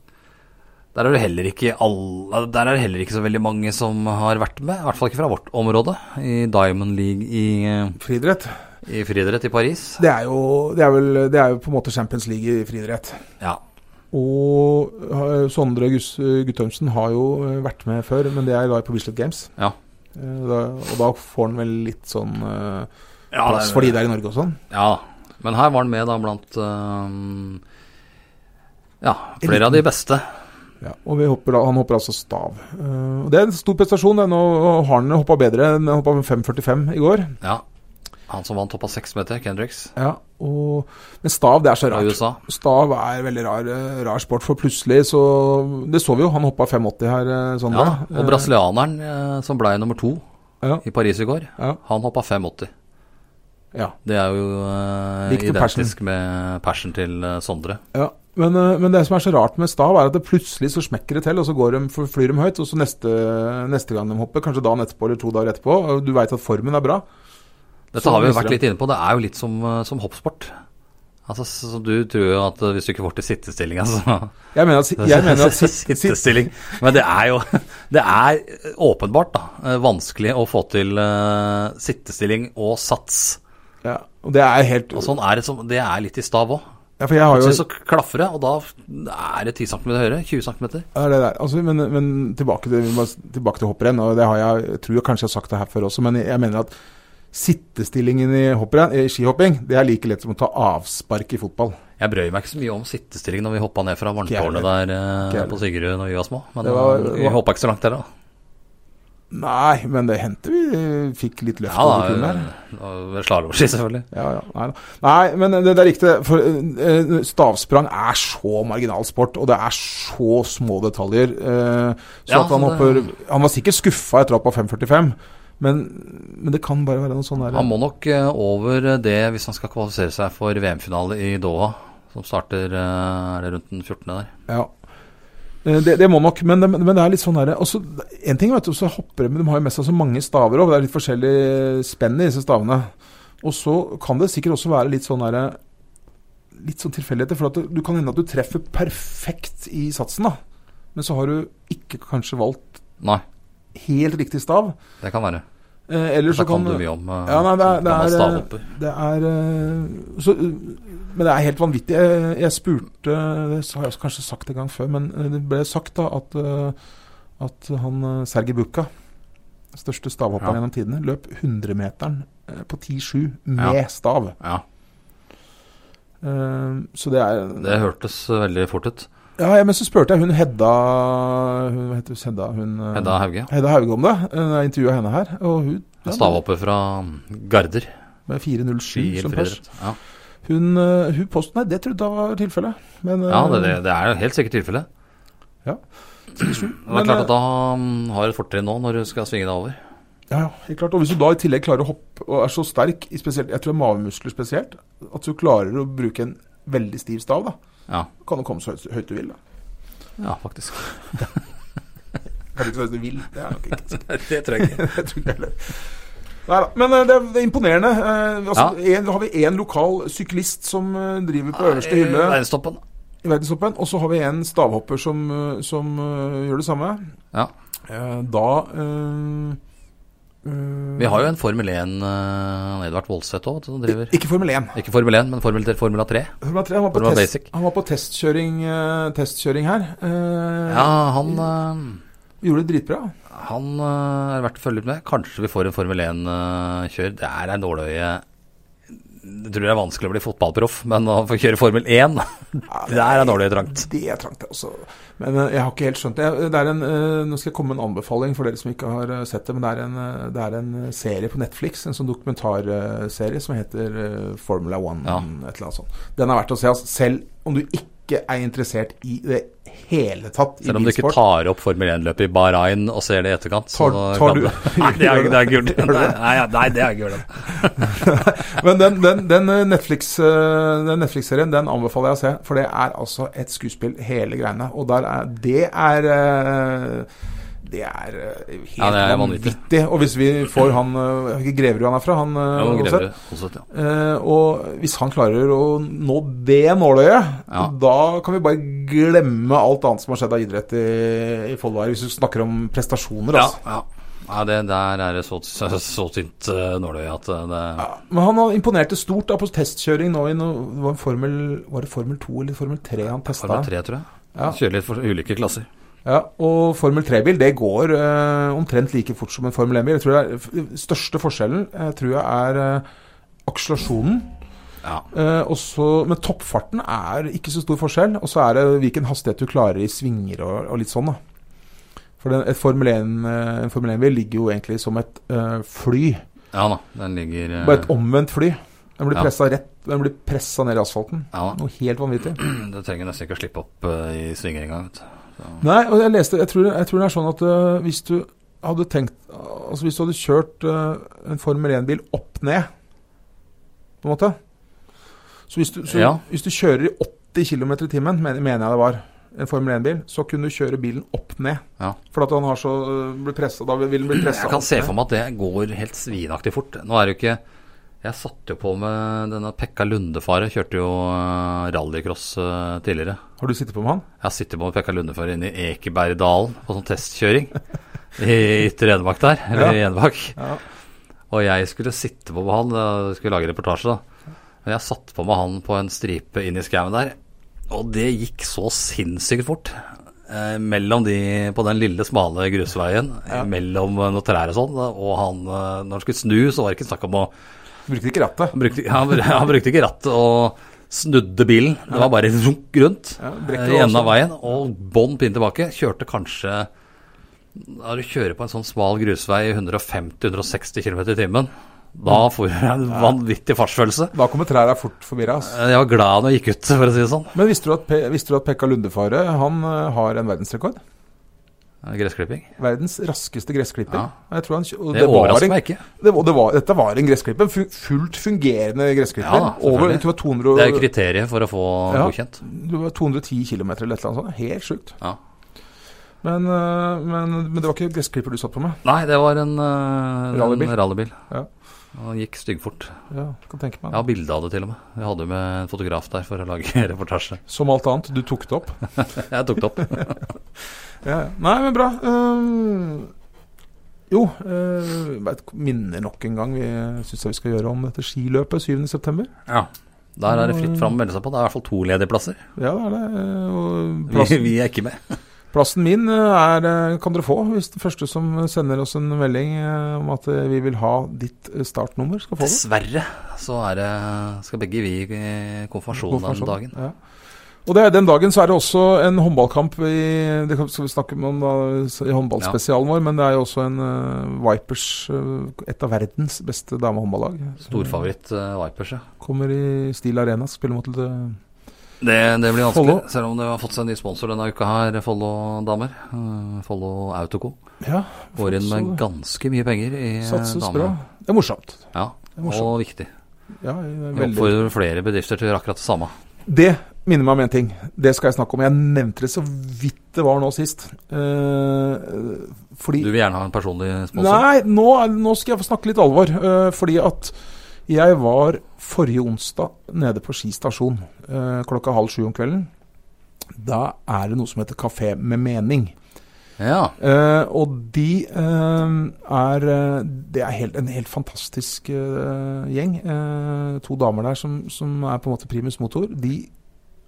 Speaker 3: Der er det heller ikke alle Der er det heller ikke så veldig mange som har vært med. I hvert fall ikke fra vårt område. I Diamond League i, eh,
Speaker 2: friidrett.
Speaker 3: i friidrett i Paris.
Speaker 2: Det er, jo, det, er vel, det er jo på en måte Champions League i friidrett.
Speaker 3: Ja.
Speaker 2: Og eh, Sondre Gus- Guttormsen har jo eh, vært med før, men det er da på Bislett Games.
Speaker 3: Ja.
Speaker 2: Eh, Da, og da får han vel litt sånn eh,
Speaker 3: Ja,
Speaker 2: plass
Speaker 3: det-
Speaker 2: for de der i Norge og sånn.
Speaker 3: Ja da. Men her var han med da blant eh, Ja, flere av de beste.
Speaker 2: Ja, og vi hopper, da- han hopper altså stav. Eh, og det er en stor prestasjon. Det. Nå har han hoppa bedre enn han hoppa 5,45 i går.
Speaker 3: Ja. Han som vant opp av seks meter, Kendricks,
Speaker 2: Ja, og, men stav, det er så
Speaker 3: fra
Speaker 2: rart.
Speaker 3: USA.
Speaker 2: Stav er veldig rar, eh, rar sport, for plutselig så Det så vi jo, han hoppa 5,80 her. eh, Sånn
Speaker 3: Ja,
Speaker 2: da.
Speaker 3: og brasilianeren eh, som blei nummer to
Speaker 2: Ja.
Speaker 3: i Paris i går,
Speaker 2: Ja.
Speaker 3: han hoppa 5,80.
Speaker 2: Ja,
Speaker 3: Det er jo eh,
Speaker 2: Likt med
Speaker 3: identisk med persen til eh, Sondre.
Speaker 2: ja. Men, eh, men det som er så rart med stav, er at det plutselig så smekker det til, og så går de, for- flyr de høyt, og så neste, neste gang de hopper, kanskje dagen etterpå eller to dager etterpå, og du veit at formen er bra.
Speaker 3: Dette
Speaker 2: Så
Speaker 3: har vi jo
Speaker 2: viser
Speaker 3: vært
Speaker 2: det.
Speaker 3: litt inne på, det er jo litt som, eh, som hoppsport. Altså, så så du tror jo at eh, hvis du ikke får til sittestillinga, så
Speaker 2: Jeg mener at, si- jeg mener at sitt, sitt,
Speaker 3: Sittestilling. Men det er jo Det er åpenbart da, eh, vanskelig å få til eh, sittestilling og sats.
Speaker 2: ja, Og det er helt
Speaker 3: Og sånn er Det som, det er litt i stav òg.
Speaker 2: ja, For jeg har jo
Speaker 3: Plutselig så klaffer det, og da er det 10 cm høyere. 20 cm.
Speaker 2: Ja, det der. Altså, men, men tilbake til, vi må tilbake til hopprenn, og det har jeg, jeg tror jeg kanskje jeg har sagt det her før også, men jeg mener at sittestillingen i, hopprenn, i skihopping, det er like lett som å ta avspark i fotball.
Speaker 3: Jeg brøy meg ikke så mye om sittestilling når vi hoppa ned fra
Speaker 2: Ikke
Speaker 3: vanntårnet
Speaker 2: jeg
Speaker 3: der eh,
Speaker 2: Ikke jeg
Speaker 3: på Sigrud når vi var små. Men
Speaker 2: Det var-
Speaker 3: eh, vi hoppa ikke så langt der, da.
Speaker 2: Nei, men det hendte vi eh, fikk litt løft
Speaker 3: Ja
Speaker 2: over kulen
Speaker 3: da,
Speaker 2: der.
Speaker 3: eh, ved slalåmski, selvfølgelig.
Speaker 2: Ja, ja, nei, da. nei, men det, det er riktig. For eh, stavsprang er så marginal sport, og det er så små detaljer. eh, så
Speaker 3: Ja,
Speaker 2: at han
Speaker 3: så
Speaker 2: hopper
Speaker 3: det-
Speaker 2: Han var sikkert skuffa etter å ha hoppa 5,45, men, men det kan bare være noe sånn der
Speaker 3: Han må nok eh, over det hvis han skal kvalifisere seg for VM-finale i Doha, som starter eh, er det rundt den 14. der.
Speaker 2: Ja. Eh, Det, det må nok, men, det- men det er litt sånn derre også, En ting, vet du, så hopper de men De har jo mest av så mange staver òg. Det er litt forskjellig spenn i disse stavene. Og så kan det sikkert også være litt sånn derre Litt sånn tilfeldigheter. For at du, du kan hende at du treffer perfekt i satsen, da. Men så har du ikke kanskje valgt
Speaker 3: Nei,
Speaker 2: helt riktig stav.
Speaker 3: det kan være.
Speaker 2: Eh, eller så
Speaker 3: Da
Speaker 2: kan,
Speaker 3: kan du mye om eh,
Speaker 2: Ja, nei, det er- det
Speaker 3: gammel
Speaker 2: er, eh,
Speaker 3: stavhopper.
Speaker 2: Det er eh, så, eh, Men det er helt vanvittig. Jeg, jeg spurte Det har jeg også kanskje sagt en gang før, men eh, det ble sagt da at, eh, at han eh, Sergej Bucca, største stavhopperen
Speaker 3: Ja.
Speaker 2: gjennom tidene, løp 100-meteren eh, på 10-7 med
Speaker 3: Ja.
Speaker 2: stav.
Speaker 3: Ja,
Speaker 2: Eh, Så det er
Speaker 3: det hørtes eh, veldig fort ut.
Speaker 2: Ja, ja, men så spurte jeg hun Hedda hun, Hva heter hun? Hedda, hun, eh,
Speaker 3: Hedda Hauge,
Speaker 2: Hedda Hauge om det. Eh, Jeg intervjua henne her, og hun ja,
Speaker 3: stavhopper fra Garder.
Speaker 2: med 4.07
Speaker 3: Ski
Speaker 2: som
Speaker 3: eller
Speaker 2: pers.
Speaker 3: friidrett. Ja,
Speaker 2: Hun, eh, hun posten Nei, det trodde jeg var tilfellet. Men, eh,
Speaker 3: ja det, det, det er jo helt sikkert tilfellet. Det
Speaker 2: men,
Speaker 3: er klart
Speaker 2: eh,
Speaker 3: at da mm, har du et fortrinn nå når du skal svinge deg over.
Speaker 2: Ja, ja, helt klart. Og hvis du da i tillegg klarer å hoppe og er så sterk, i spesielt, jeg tror det er magemuskler spesielt, at du klarer å bruke en veldig stiv stav, da.
Speaker 3: Ja,
Speaker 2: Kan du komme så høyt, høyt du vil, da.
Speaker 3: ja faktisk.
Speaker 2: Kan du ikke så høyt du vil, det er nok ikke
Speaker 3: det tror jeg ikke.
Speaker 2: jeg tror ikke heller. Neida, Men eh, det er, det er imponerende. Eh, altså, en, har vi én lokal syklist som eh, driver på øverste hylle
Speaker 3: Verdenstoppen.
Speaker 2: i verdenstoppen, og så har vi en stavhopper som, eh, som eh, gjør det samme.
Speaker 3: Ja.
Speaker 2: Eh, Da eh, eh,
Speaker 3: Vi har jo en Formel 1, eh, Edvard Voldseth òg, som driver
Speaker 2: Ikke Formel 1.
Speaker 3: Ikke Formel 1, men Formel, Formula 3.
Speaker 2: Formel 3 han var på,
Speaker 3: Formel
Speaker 2: test,
Speaker 3: Basic.
Speaker 2: han var på testkjøring, eh, testkjøring her. Eh,
Speaker 3: Ja, han eh,
Speaker 2: Gjorde det dritbra.
Speaker 3: Han eh, er verdt å følge litt med. Kanskje vi får en Formel 1-kjør. Det er en nåløye Jeg tror det er vanskelig å bli fotballproff, men å få kjøre Formel 1 Det er en nåløye trangt.
Speaker 2: Det er trangt, det også. Men eh, jeg har ikke helt skjønt det. Jeg- det er en, eh, nå skal jeg komme med en anbefaling for dere som ikke har eh, sett det. Men det er en, eh, det er en eh, serie på Netflix, en sånn dokumentarserie som heter eh, Formula One.
Speaker 3: Ja.
Speaker 2: Et eller annet sånt. Den er verdt å se, altså, selv om du ikke er interessert i det hele tatt i
Speaker 3: Selv om du ikke
Speaker 2: bilsport.
Speaker 3: tar opp Formel 1-løpet i Bahrain og ser det i etterkant. så
Speaker 2: Tar- tar
Speaker 3: kan
Speaker 2: du-
Speaker 3: Nei, det er, det er gult.
Speaker 2: Gjør du det?
Speaker 3: Nei, nei, det er gult.
Speaker 2: Men den, den, den eh, Netflix, eh, den Netflix-serien den anbefaler jeg å se, for det er altså et skuespill, hele greiene. Og der er, det er eh, Det er eh, helt
Speaker 3: Ja, det er vanvittig.
Speaker 2: vanvittig. Og hvis vi får han eh, ikke Greverud han er fra, han eh,
Speaker 3: Ja, men
Speaker 2: Aaseth.
Speaker 3: Greve, Aaseth, ja.
Speaker 2: Eh, og hvis han klarer å nå det nåløyet,
Speaker 3: Ja.
Speaker 2: da kan vi bare glemme alt annet som har skjedd av idrett i, i Follo her, hvis du snakker om prestasjoner,
Speaker 3: Ja,
Speaker 2: altså.
Speaker 3: ja. Nei, det der er det så, så, så tynt eh, nåløye at eh, det
Speaker 2: Ja, Men han har imponerte stort da på testkjøring nå i no, det var, en formel, var det Formel 2 eller Formel 3 han testa?
Speaker 3: Formel 3, tror jeg.
Speaker 2: Ja.
Speaker 3: Kjører litt for ulike klasser.
Speaker 2: Ja, og Formel 3-bil det går eh, omtrent like fort som en Formel 1-bil. Jeg tror det er, f- Største forskjellen eh, tror jeg er eh, akselerasjonen.
Speaker 3: Ja.
Speaker 2: Eh, og så- men toppfarten er ikke så stor forskjell. Og så er det hvilken hastighet du klarer i svinger og, og litt sånn, da. For den, et Formel 1, eh, en Formel 1-bil ligger jo egentlig som et eh, fly.
Speaker 3: ja da, den ligger eh,
Speaker 2: Bare et omvendt fly. Den blir
Speaker 3: Ja.
Speaker 2: pressa rett Den blir presset ned i asfalten.
Speaker 3: ja, da.
Speaker 2: Noe helt vanvittig.
Speaker 3: Du trenger nesten ikke å slippe opp eh, i svinger engang. vet du.
Speaker 2: Nei, og jeg leste Jeg tror, jeg tror det er sånn at eh, hvis du hadde tenkt Altså hvis du hadde kjørt eh, en Formel 1-bil opp ned, på en måte Så hvis du, så
Speaker 3: Ja.
Speaker 2: hvis du kjører i 80 km i timen, men- mener jeg det var, en Formel 1-bil, så kunne du kjøre bilen opp ned.
Speaker 3: Ja.
Speaker 2: For at han har så eh, blir presset, Da vil den bli pressa.
Speaker 3: Jeg kan se for meg at det går helt svinaktig fort. Nå er det jo ikke Jeg satte jo på med denne Pekka Lundefaret. Kjørte jo eh, rallycross eh, tidligere.
Speaker 2: Har du sittet på med han?
Speaker 3: Jeg sitter på med Pekka Lundefaret inne i Ekebergdalen på sånn testkjøring. I Ytre Enebakk der. Eller i Enebakk.
Speaker 2: Ja.
Speaker 3: Og jeg skulle sitte på med han, eh, skulle lage reportasje, da. Men jeg satte på med han på en stripe inn i skauen der, og det gikk så sinnssykt fort. Eh, mellom de på den lille, smale grusveien, eh, mellom eh, noen trær og sånn. Og han, eh, når han skulle snu, så var det ikke snakk om å
Speaker 2: Brukte ikke rattet.
Speaker 3: Han brukte, han, br- han brukte ikke rattet og snudde bilen. Det var bare runk rundt
Speaker 2: Ja,
Speaker 3: eh,
Speaker 2: brekket
Speaker 3: i
Speaker 2: var
Speaker 3: enden av
Speaker 2: også-
Speaker 3: veien, og bånn pinn tilbake. Kjørte kanskje Når du kjører på en sånn smal grusvei i 150-160 km i timen, da får du en vanvittig fartsfølelse.
Speaker 2: Da kommer trærne fort forbi deg. ass.
Speaker 3: Eh, Jeg var glad når jeg gikk ut, for å si det sånn.
Speaker 2: Men visste du at, Pe visste du at Pekka Lundefare han eh, har en verdensrekord?
Speaker 3: Eh, Gressklipping.
Speaker 2: Verdens raskeste gressklipper.
Speaker 3: Ja.
Speaker 2: Jeg tror han, kjø- og
Speaker 3: Det
Speaker 2: var
Speaker 3: overrasker
Speaker 2: en-
Speaker 3: meg ikke.
Speaker 2: Det var, det var, dette var en gressklipper. fu- Fullt fungerende gressklipper.
Speaker 3: Ja, da, selvfølgelig.
Speaker 2: over jeg tror det var 200,
Speaker 3: Det er jo kriteriet for å få
Speaker 2: Ja.
Speaker 3: godkjent.
Speaker 2: det var 210 km eller et eller annet sånt. Helt sjukt.
Speaker 3: Ja.
Speaker 2: Men, øh, men, men det var ikke gressklipper du satt på med.
Speaker 3: Nei, det var en eh,
Speaker 2: Rallybil.
Speaker 3: en rallybil.
Speaker 2: Ja.
Speaker 3: Og Han gikk styggfort.
Speaker 2: Ja, kan tenke meg.
Speaker 3: Jeg har bilde av det, til og med. Jeg hadde jo med en fotograf der for å lage reportasje.
Speaker 2: Som alt annet, du tok det opp.
Speaker 3: Jeg tok det opp.
Speaker 2: Ja, ja. Nei, men bra. Ehm, jo, øh, jeg vet ikke, minner nok en gang vi syns vi skal gjøre om dette skiløpet 7.9.
Speaker 3: Ja. Der er det fritt fram å melde seg på. Det er i hvert fall to ledige plasser.
Speaker 2: Ja, det er det. øh, og
Speaker 3: Vi,
Speaker 2: plassen-
Speaker 3: vi er ikke med.
Speaker 2: Plassen min eh, er, eh, kan dere få hvis den første som sender oss en melding eh, om at eh, vi vil ha ditt eh, startnummer, skal få det.
Speaker 3: Dessverre så er det, skal begge vi i konfirmasjon den dagen.
Speaker 2: Ja. Og det, er- den dagen så er det også en håndballkamp i Det kan- skal vi snakke om da, s- i håndballspesialen vår, men det er jo også en eh, Vipers, eh, et av verdens beste damehåndballag.
Speaker 3: Storfavoritt uh, Vipers, ja.
Speaker 2: Kommer i Steel Arena, spiller mot eh,
Speaker 3: Det, det blir vanskelig,
Speaker 2: Follo.
Speaker 3: selv om det har fått seg en ny sponsor denne uka her, Follo damer. Eh, Follo Autoco.
Speaker 2: Ja,
Speaker 3: Går inn med
Speaker 2: så-
Speaker 3: ganske mye penger i eh,
Speaker 2: satses
Speaker 3: damer.
Speaker 2: bra. Det er morsomt.
Speaker 3: Ja,
Speaker 2: er morsomt.
Speaker 3: og viktig.
Speaker 2: Ja, det er
Speaker 3: Vi
Speaker 2: veldig.
Speaker 3: oppfordrer flere bedrifter til å gjøre akkurat det samme.
Speaker 2: Det minner meg om én ting. Det skal jeg snakke om. Jeg nevnte det så vidt det var nå sist. Eh, fordi
Speaker 3: Du vil gjerne ha en personlig sponsor?
Speaker 2: Nei, nå, er- nå skal jeg få snakke litt alvor. eh, fordi at jeg var forrige onsdag nede på Ski stasjon eh, klokka halv sju om kvelden. Da er det noe som heter Kafé med mening.
Speaker 3: Ja.
Speaker 2: Eh, og de eh, er eh, Det er helt, en helt fantastisk eh, gjeng. Eh, to damer der som, som er på en måte primus motor. De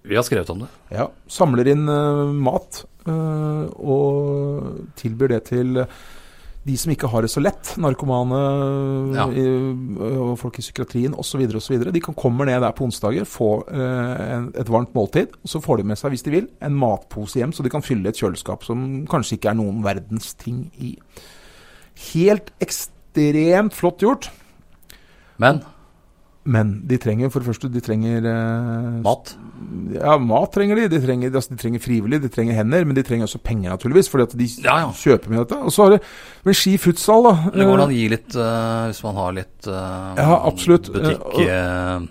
Speaker 3: Vi har skrevet om det.
Speaker 2: ja, samler inn eh, mat eh, og tilbyr det til de som ikke har det så lett. Narkomane
Speaker 3: Ja.
Speaker 2: i, eh, og folk i psykiatrien osv. osv. De kan komme ned der på onsdager, få eh, en, et varmt måltid. Og så får de med seg, hvis de vil, en matpose hjem, så de kan fylle et kjøleskap som kanskje ikke er noen verdens ting i. Helt ekstremt flott gjort.
Speaker 3: Men
Speaker 2: Men de trenger for det første de trenger eh,
Speaker 3: mat?
Speaker 2: ja, mat trenger de. De trenger, altså, de trenger frivillige, de trenger hender, men de trenger også penger, naturligvis. Fordi at de
Speaker 3: Ja, ja.
Speaker 2: kjøper med dette. Og så har det Men Ski futsal, da.
Speaker 3: Eller går det an
Speaker 2: eh,
Speaker 3: å gi litt eh, hvis man har litt eh,
Speaker 2: Ja, absolutt.
Speaker 3: butikk
Speaker 2: Eh, og-
Speaker 3: eh,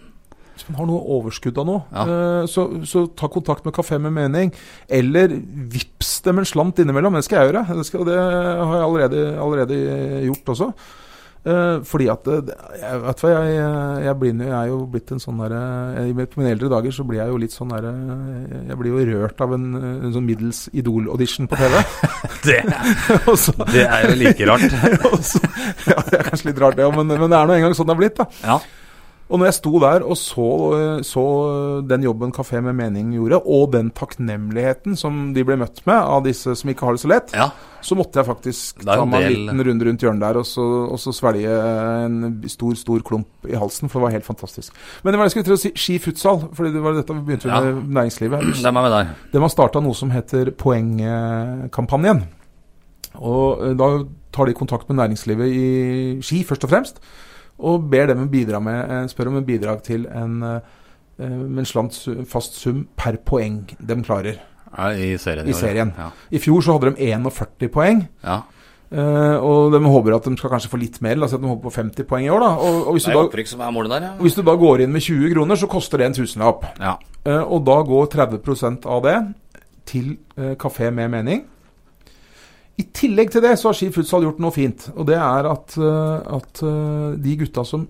Speaker 2: Hvis man har noe overskudd av noe,
Speaker 3: Ja.
Speaker 2: eh, så, så ta kontakt med Kafé med mening. Eller vips dem en slant innimellom. Det skal jeg gjøre. Det, skal, det har jeg allerede, allerede gjort også. Eh, fordi at det, det- jeg, vet du hva, jeg, eh, jeg, blir, jeg er jo blitt en sånn derre jeg- På mine eldre dager så blir jeg jo litt sånn derre Jeg blir jo rørt av en, en sånn middels Idol-audition på TV.
Speaker 3: Det,
Speaker 2: og så,
Speaker 3: det er jo like rart.
Speaker 2: og så, ja, det er kanskje litt rart, det, men, men det er nå engang sånn det er blitt. da.
Speaker 3: Ja.
Speaker 2: Og når jeg sto der og så, eh, så den jobben Kafé med mening gjorde, og den takknemligheten som de ble møtt med av disse som ikke har det så lett,
Speaker 3: ja.
Speaker 2: så måtte jeg faktisk
Speaker 3: Det er
Speaker 2: ta
Speaker 3: jo
Speaker 2: meg en
Speaker 3: del-
Speaker 2: liten runde rundt hjørnet der og så, og så svelge en stor, stor klump i halsen, for det var helt fantastisk. Men det var det jeg skulle til å si, ski futsal, fordi det var dette vi begynte
Speaker 3: Ja.
Speaker 2: med næringslivet.
Speaker 3: Det er meg med deg.
Speaker 2: De har starta noe som heter Poengkampanjen. Og eh, da tar de kontakt med næringslivet i Ski, først og fremst, og ber dem bidra med, eh, spør om en bidrag til en, eh, eh, med en slant su- fast sum per poeng de klarer.
Speaker 3: Ja, I serien.
Speaker 2: I
Speaker 3: år,
Speaker 2: serien.
Speaker 3: Ja.
Speaker 2: I fjor så hadde de 41 poeng,
Speaker 3: ja.
Speaker 2: eh, og de håper at de skal kanskje få litt mer, la oss si at de håper på 50 poeng i år. da. Og, og hvis, du
Speaker 3: Det er jo
Speaker 2: da,
Speaker 3: opprykk som er målet der, ja.
Speaker 2: hvis du da går inn med 20 kroner, så koster det en tusenlapp.
Speaker 3: ja.
Speaker 2: Eh, Og da går 30 av det til eh, Kafé med mening. I tillegg til det så har Ski Futsal gjort noe fint. Og det er at, eh, at eh, de gutta som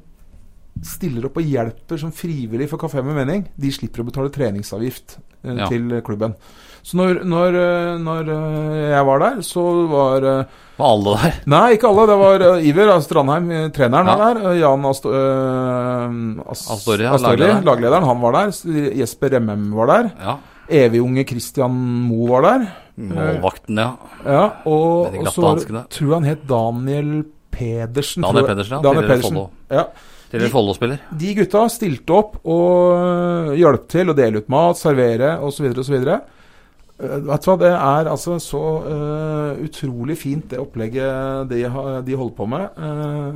Speaker 2: stiller opp og hjelper som frivillig for Kafé med mening, de slipper å betale treningsavgift eh,
Speaker 3: Ja.
Speaker 2: til klubben. Så når, når, eh, når eh, jeg var der, så var eh,
Speaker 3: Var alle der?
Speaker 2: Nei, ikke alle. Det var eh, Iver eh, Strandheim, eh, treneren
Speaker 3: Ja.
Speaker 2: var der. eh, Jan Ast eh, As-
Speaker 3: Astori, ja,
Speaker 2: Astori,
Speaker 3: laglederen.
Speaker 2: laglederen, han var der. S- Jesper Remmem var der.
Speaker 3: Ja.
Speaker 2: Evig unge Christian Moe var der. Eh,
Speaker 3: Målvakten, ja.
Speaker 2: Ja, og,
Speaker 3: Med de
Speaker 2: og
Speaker 3: glatte
Speaker 2: så var,
Speaker 3: hanskene.
Speaker 2: tror jeg han het Daniel Pedersen.
Speaker 3: Daniel
Speaker 2: tror jeg.
Speaker 3: Pedersen, ja,
Speaker 2: Daniel
Speaker 3: tidligere
Speaker 2: Pedersen.
Speaker 3: Follo.
Speaker 2: Ja.
Speaker 3: Tidligere Follo-spiller.
Speaker 2: De gutta stilte opp og øh, hjalp til å dele ut mat, servere osv. osv. Eh, Vet du hva, det er altså så øh, utrolig fint det opplegget de, har- de holder på med. Eh,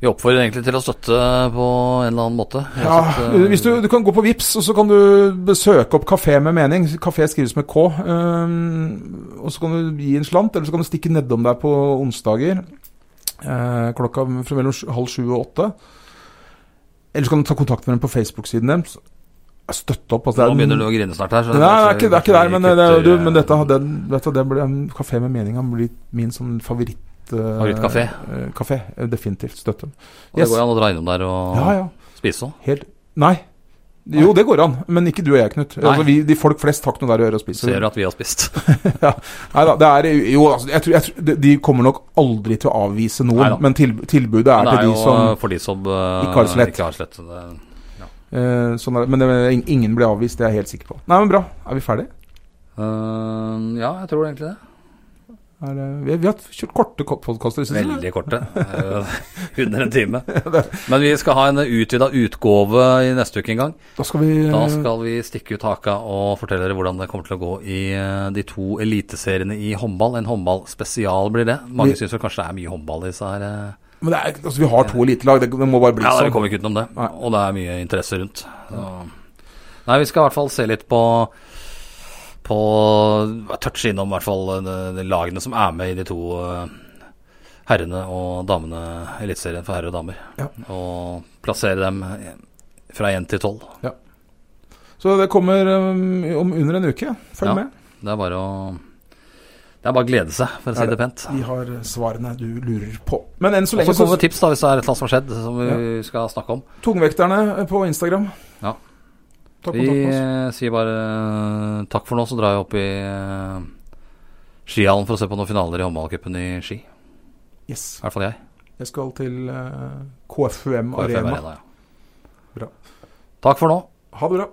Speaker 3: Vi oppfordrer egentlig til å støtte på en eller annen måte. Jeg
Speaker 2: ja,
Speaker 3: har sett, eh,
Speaker 2: hvis du, du kan gå på Vips og så kan du søke opp Kafé med mening. Kafé skrives med K. eh, og så kan du gi en slant, eller så kan du stikke nedom deg på onsdager eh, klokka fra mellom sj- halv sju og åtte. Eller så kan du ta kontakt med dem på Facebook-siden deres. Støtte opp. Altså, det er
Speaker 3: Nå
Speaker 2: en-
Speaker 3: begynner du å grine snart her. så
Speaker 2: Nei, det er ikke, det er ikke der, men, det, er-
Speaker 3: kutter,
Speaker 2: du,
Speaker 3: eh,
Speaker 2: men dette, har- den, vet du, det ble, Kafé med mening har blitt min sånn favoritt... eh,
Speaker 3: Favorittkafé.
Speaker 2: eh, kafé. Eh, Definitivt. Støtte dem.
Speaker 3: Og det går jo an å dra innom der og
Speaker 2: Ja, ja.
Speaker 3: spise òg.
Speaker 2: Helt Nei. Jo, det går an, men ikke du og jeg, Knut.
Speaker 3: Nei.
Speaker 2: Altså, vi, de folk flest har ikke noe der å gjøre og spise.
Speaker 3: Ser du at vi har spist.
Speaker 2: Neida, det er jo altså, jeg tror, jeg tror, de- De kommer nok aldri til å avvise noen,
Speaker 3: Neida.
Speaker 2: men til, tilbudet er,
Speaker 3: Men det er
Speaker 2: til
Speaker 3: jo
Speaker 2: de som
Speaker 3: for de som eh,
Speaker 2: ikke har det så lett.
Speaker 3: Ikke har det så lett. Det-
Speaker 2: eh, sånn er, det. Men det, ingen blir avvist, det er jeg helt sikker på. Nei, men bra. Er vi ferdige?
Speaker 3: Eh, ja, jeg tror egentlig det.
Speaker 2: Er det, vi, vi har kjørt korte podkaster.
Speaker 3: Veldig korte. eh, Under en time. Men vi skal ha en utvida utgave i neste uke en gang.
Speaker 2: Da skal vi
Speaker 3: Da skal vi stikke ut haka og fortelle dere hvordan det kommer til å gå i eh, de to eliteseriene i håndball. En håndballspesial blir det. Mange
Speaker 2: Vi-
Speaker 3: syns vel kanskje det er mye håndball i disse her. eh.
Speaker 2: Men det er, altså, vi har to elitelag, det, det må bare bli
Speaker 3: Ja, vi
Speaker 2: sånn.
Speaker 3: kommer ikke utenom det.
Speaker 2: Nei.
Speaker 3: Og det er mye interesse rundt. Så. Nei, vi skal i hvert fall se litt på på touche innom i hvert fall eh, de lagene som er med i de to eh, herrene og damene Eliteserien for herrer og damer.
Speaker 2: Ja.
Speaker 3: Og plassere dem eh, fra én til tolv.
Speaker 2: Så det kommer um, om under en uke. Følg
Speaker 3: Ja.
Speaker 2: med.
Speaker 3: Det er bare å Det er bare å glede seg, for å
Speaker 2: Er
Speaker 3: si det pent.
Speaker 2: De har svarene du lurer på. Men enn så
Speaker 3: Og
Speaker 2: lenge
Speaker 3: så
Speaker 2: så
Speaker 3: kommer det tips da hvis det er et eller annet som har skjedd, som vi skal snakke om.
Speaker 2: Tungvekterne eh, på Instagram.
Speaker 3: Ja.
Speaker 2: Ta
Speaker 3: Vi
Speaker 2: kontakt med oss.
Speaker 3: eh, sier bare eh, takk for nå, så drar jeg opp i eh, skihallen for å se på noen finaler i håndballcupen i Ski. I
Speaker 2: Yes.
Speaker 3: hvert fall jeg.
Speaker 2: Jeg skal til eh, KFUM
Speaker 3: KFM
Speaker 2: Arena.
Speaker 3: Arena, ja.
Speaker 2: Bra.
Speaker 3: Takk for nå.
Speaker 2: Ha det bra.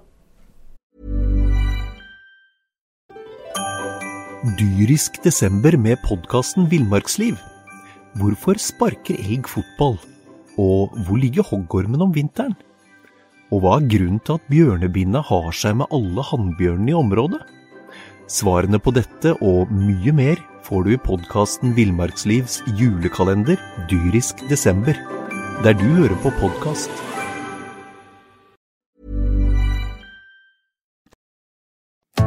Speaker 4: Dyrisk desember med podkasten Villmarksliv. Hvorfor sparker elg fotball? Og hvor ligger hoggormen om vinteren? Og hva er grunnen til at bjørnebinna har seg med alle hannbjørnene i området? Svarene på dette og mye mer får du i podkasten Villmarkslivs julekalender Dyrisk desember, der du hører på podkast.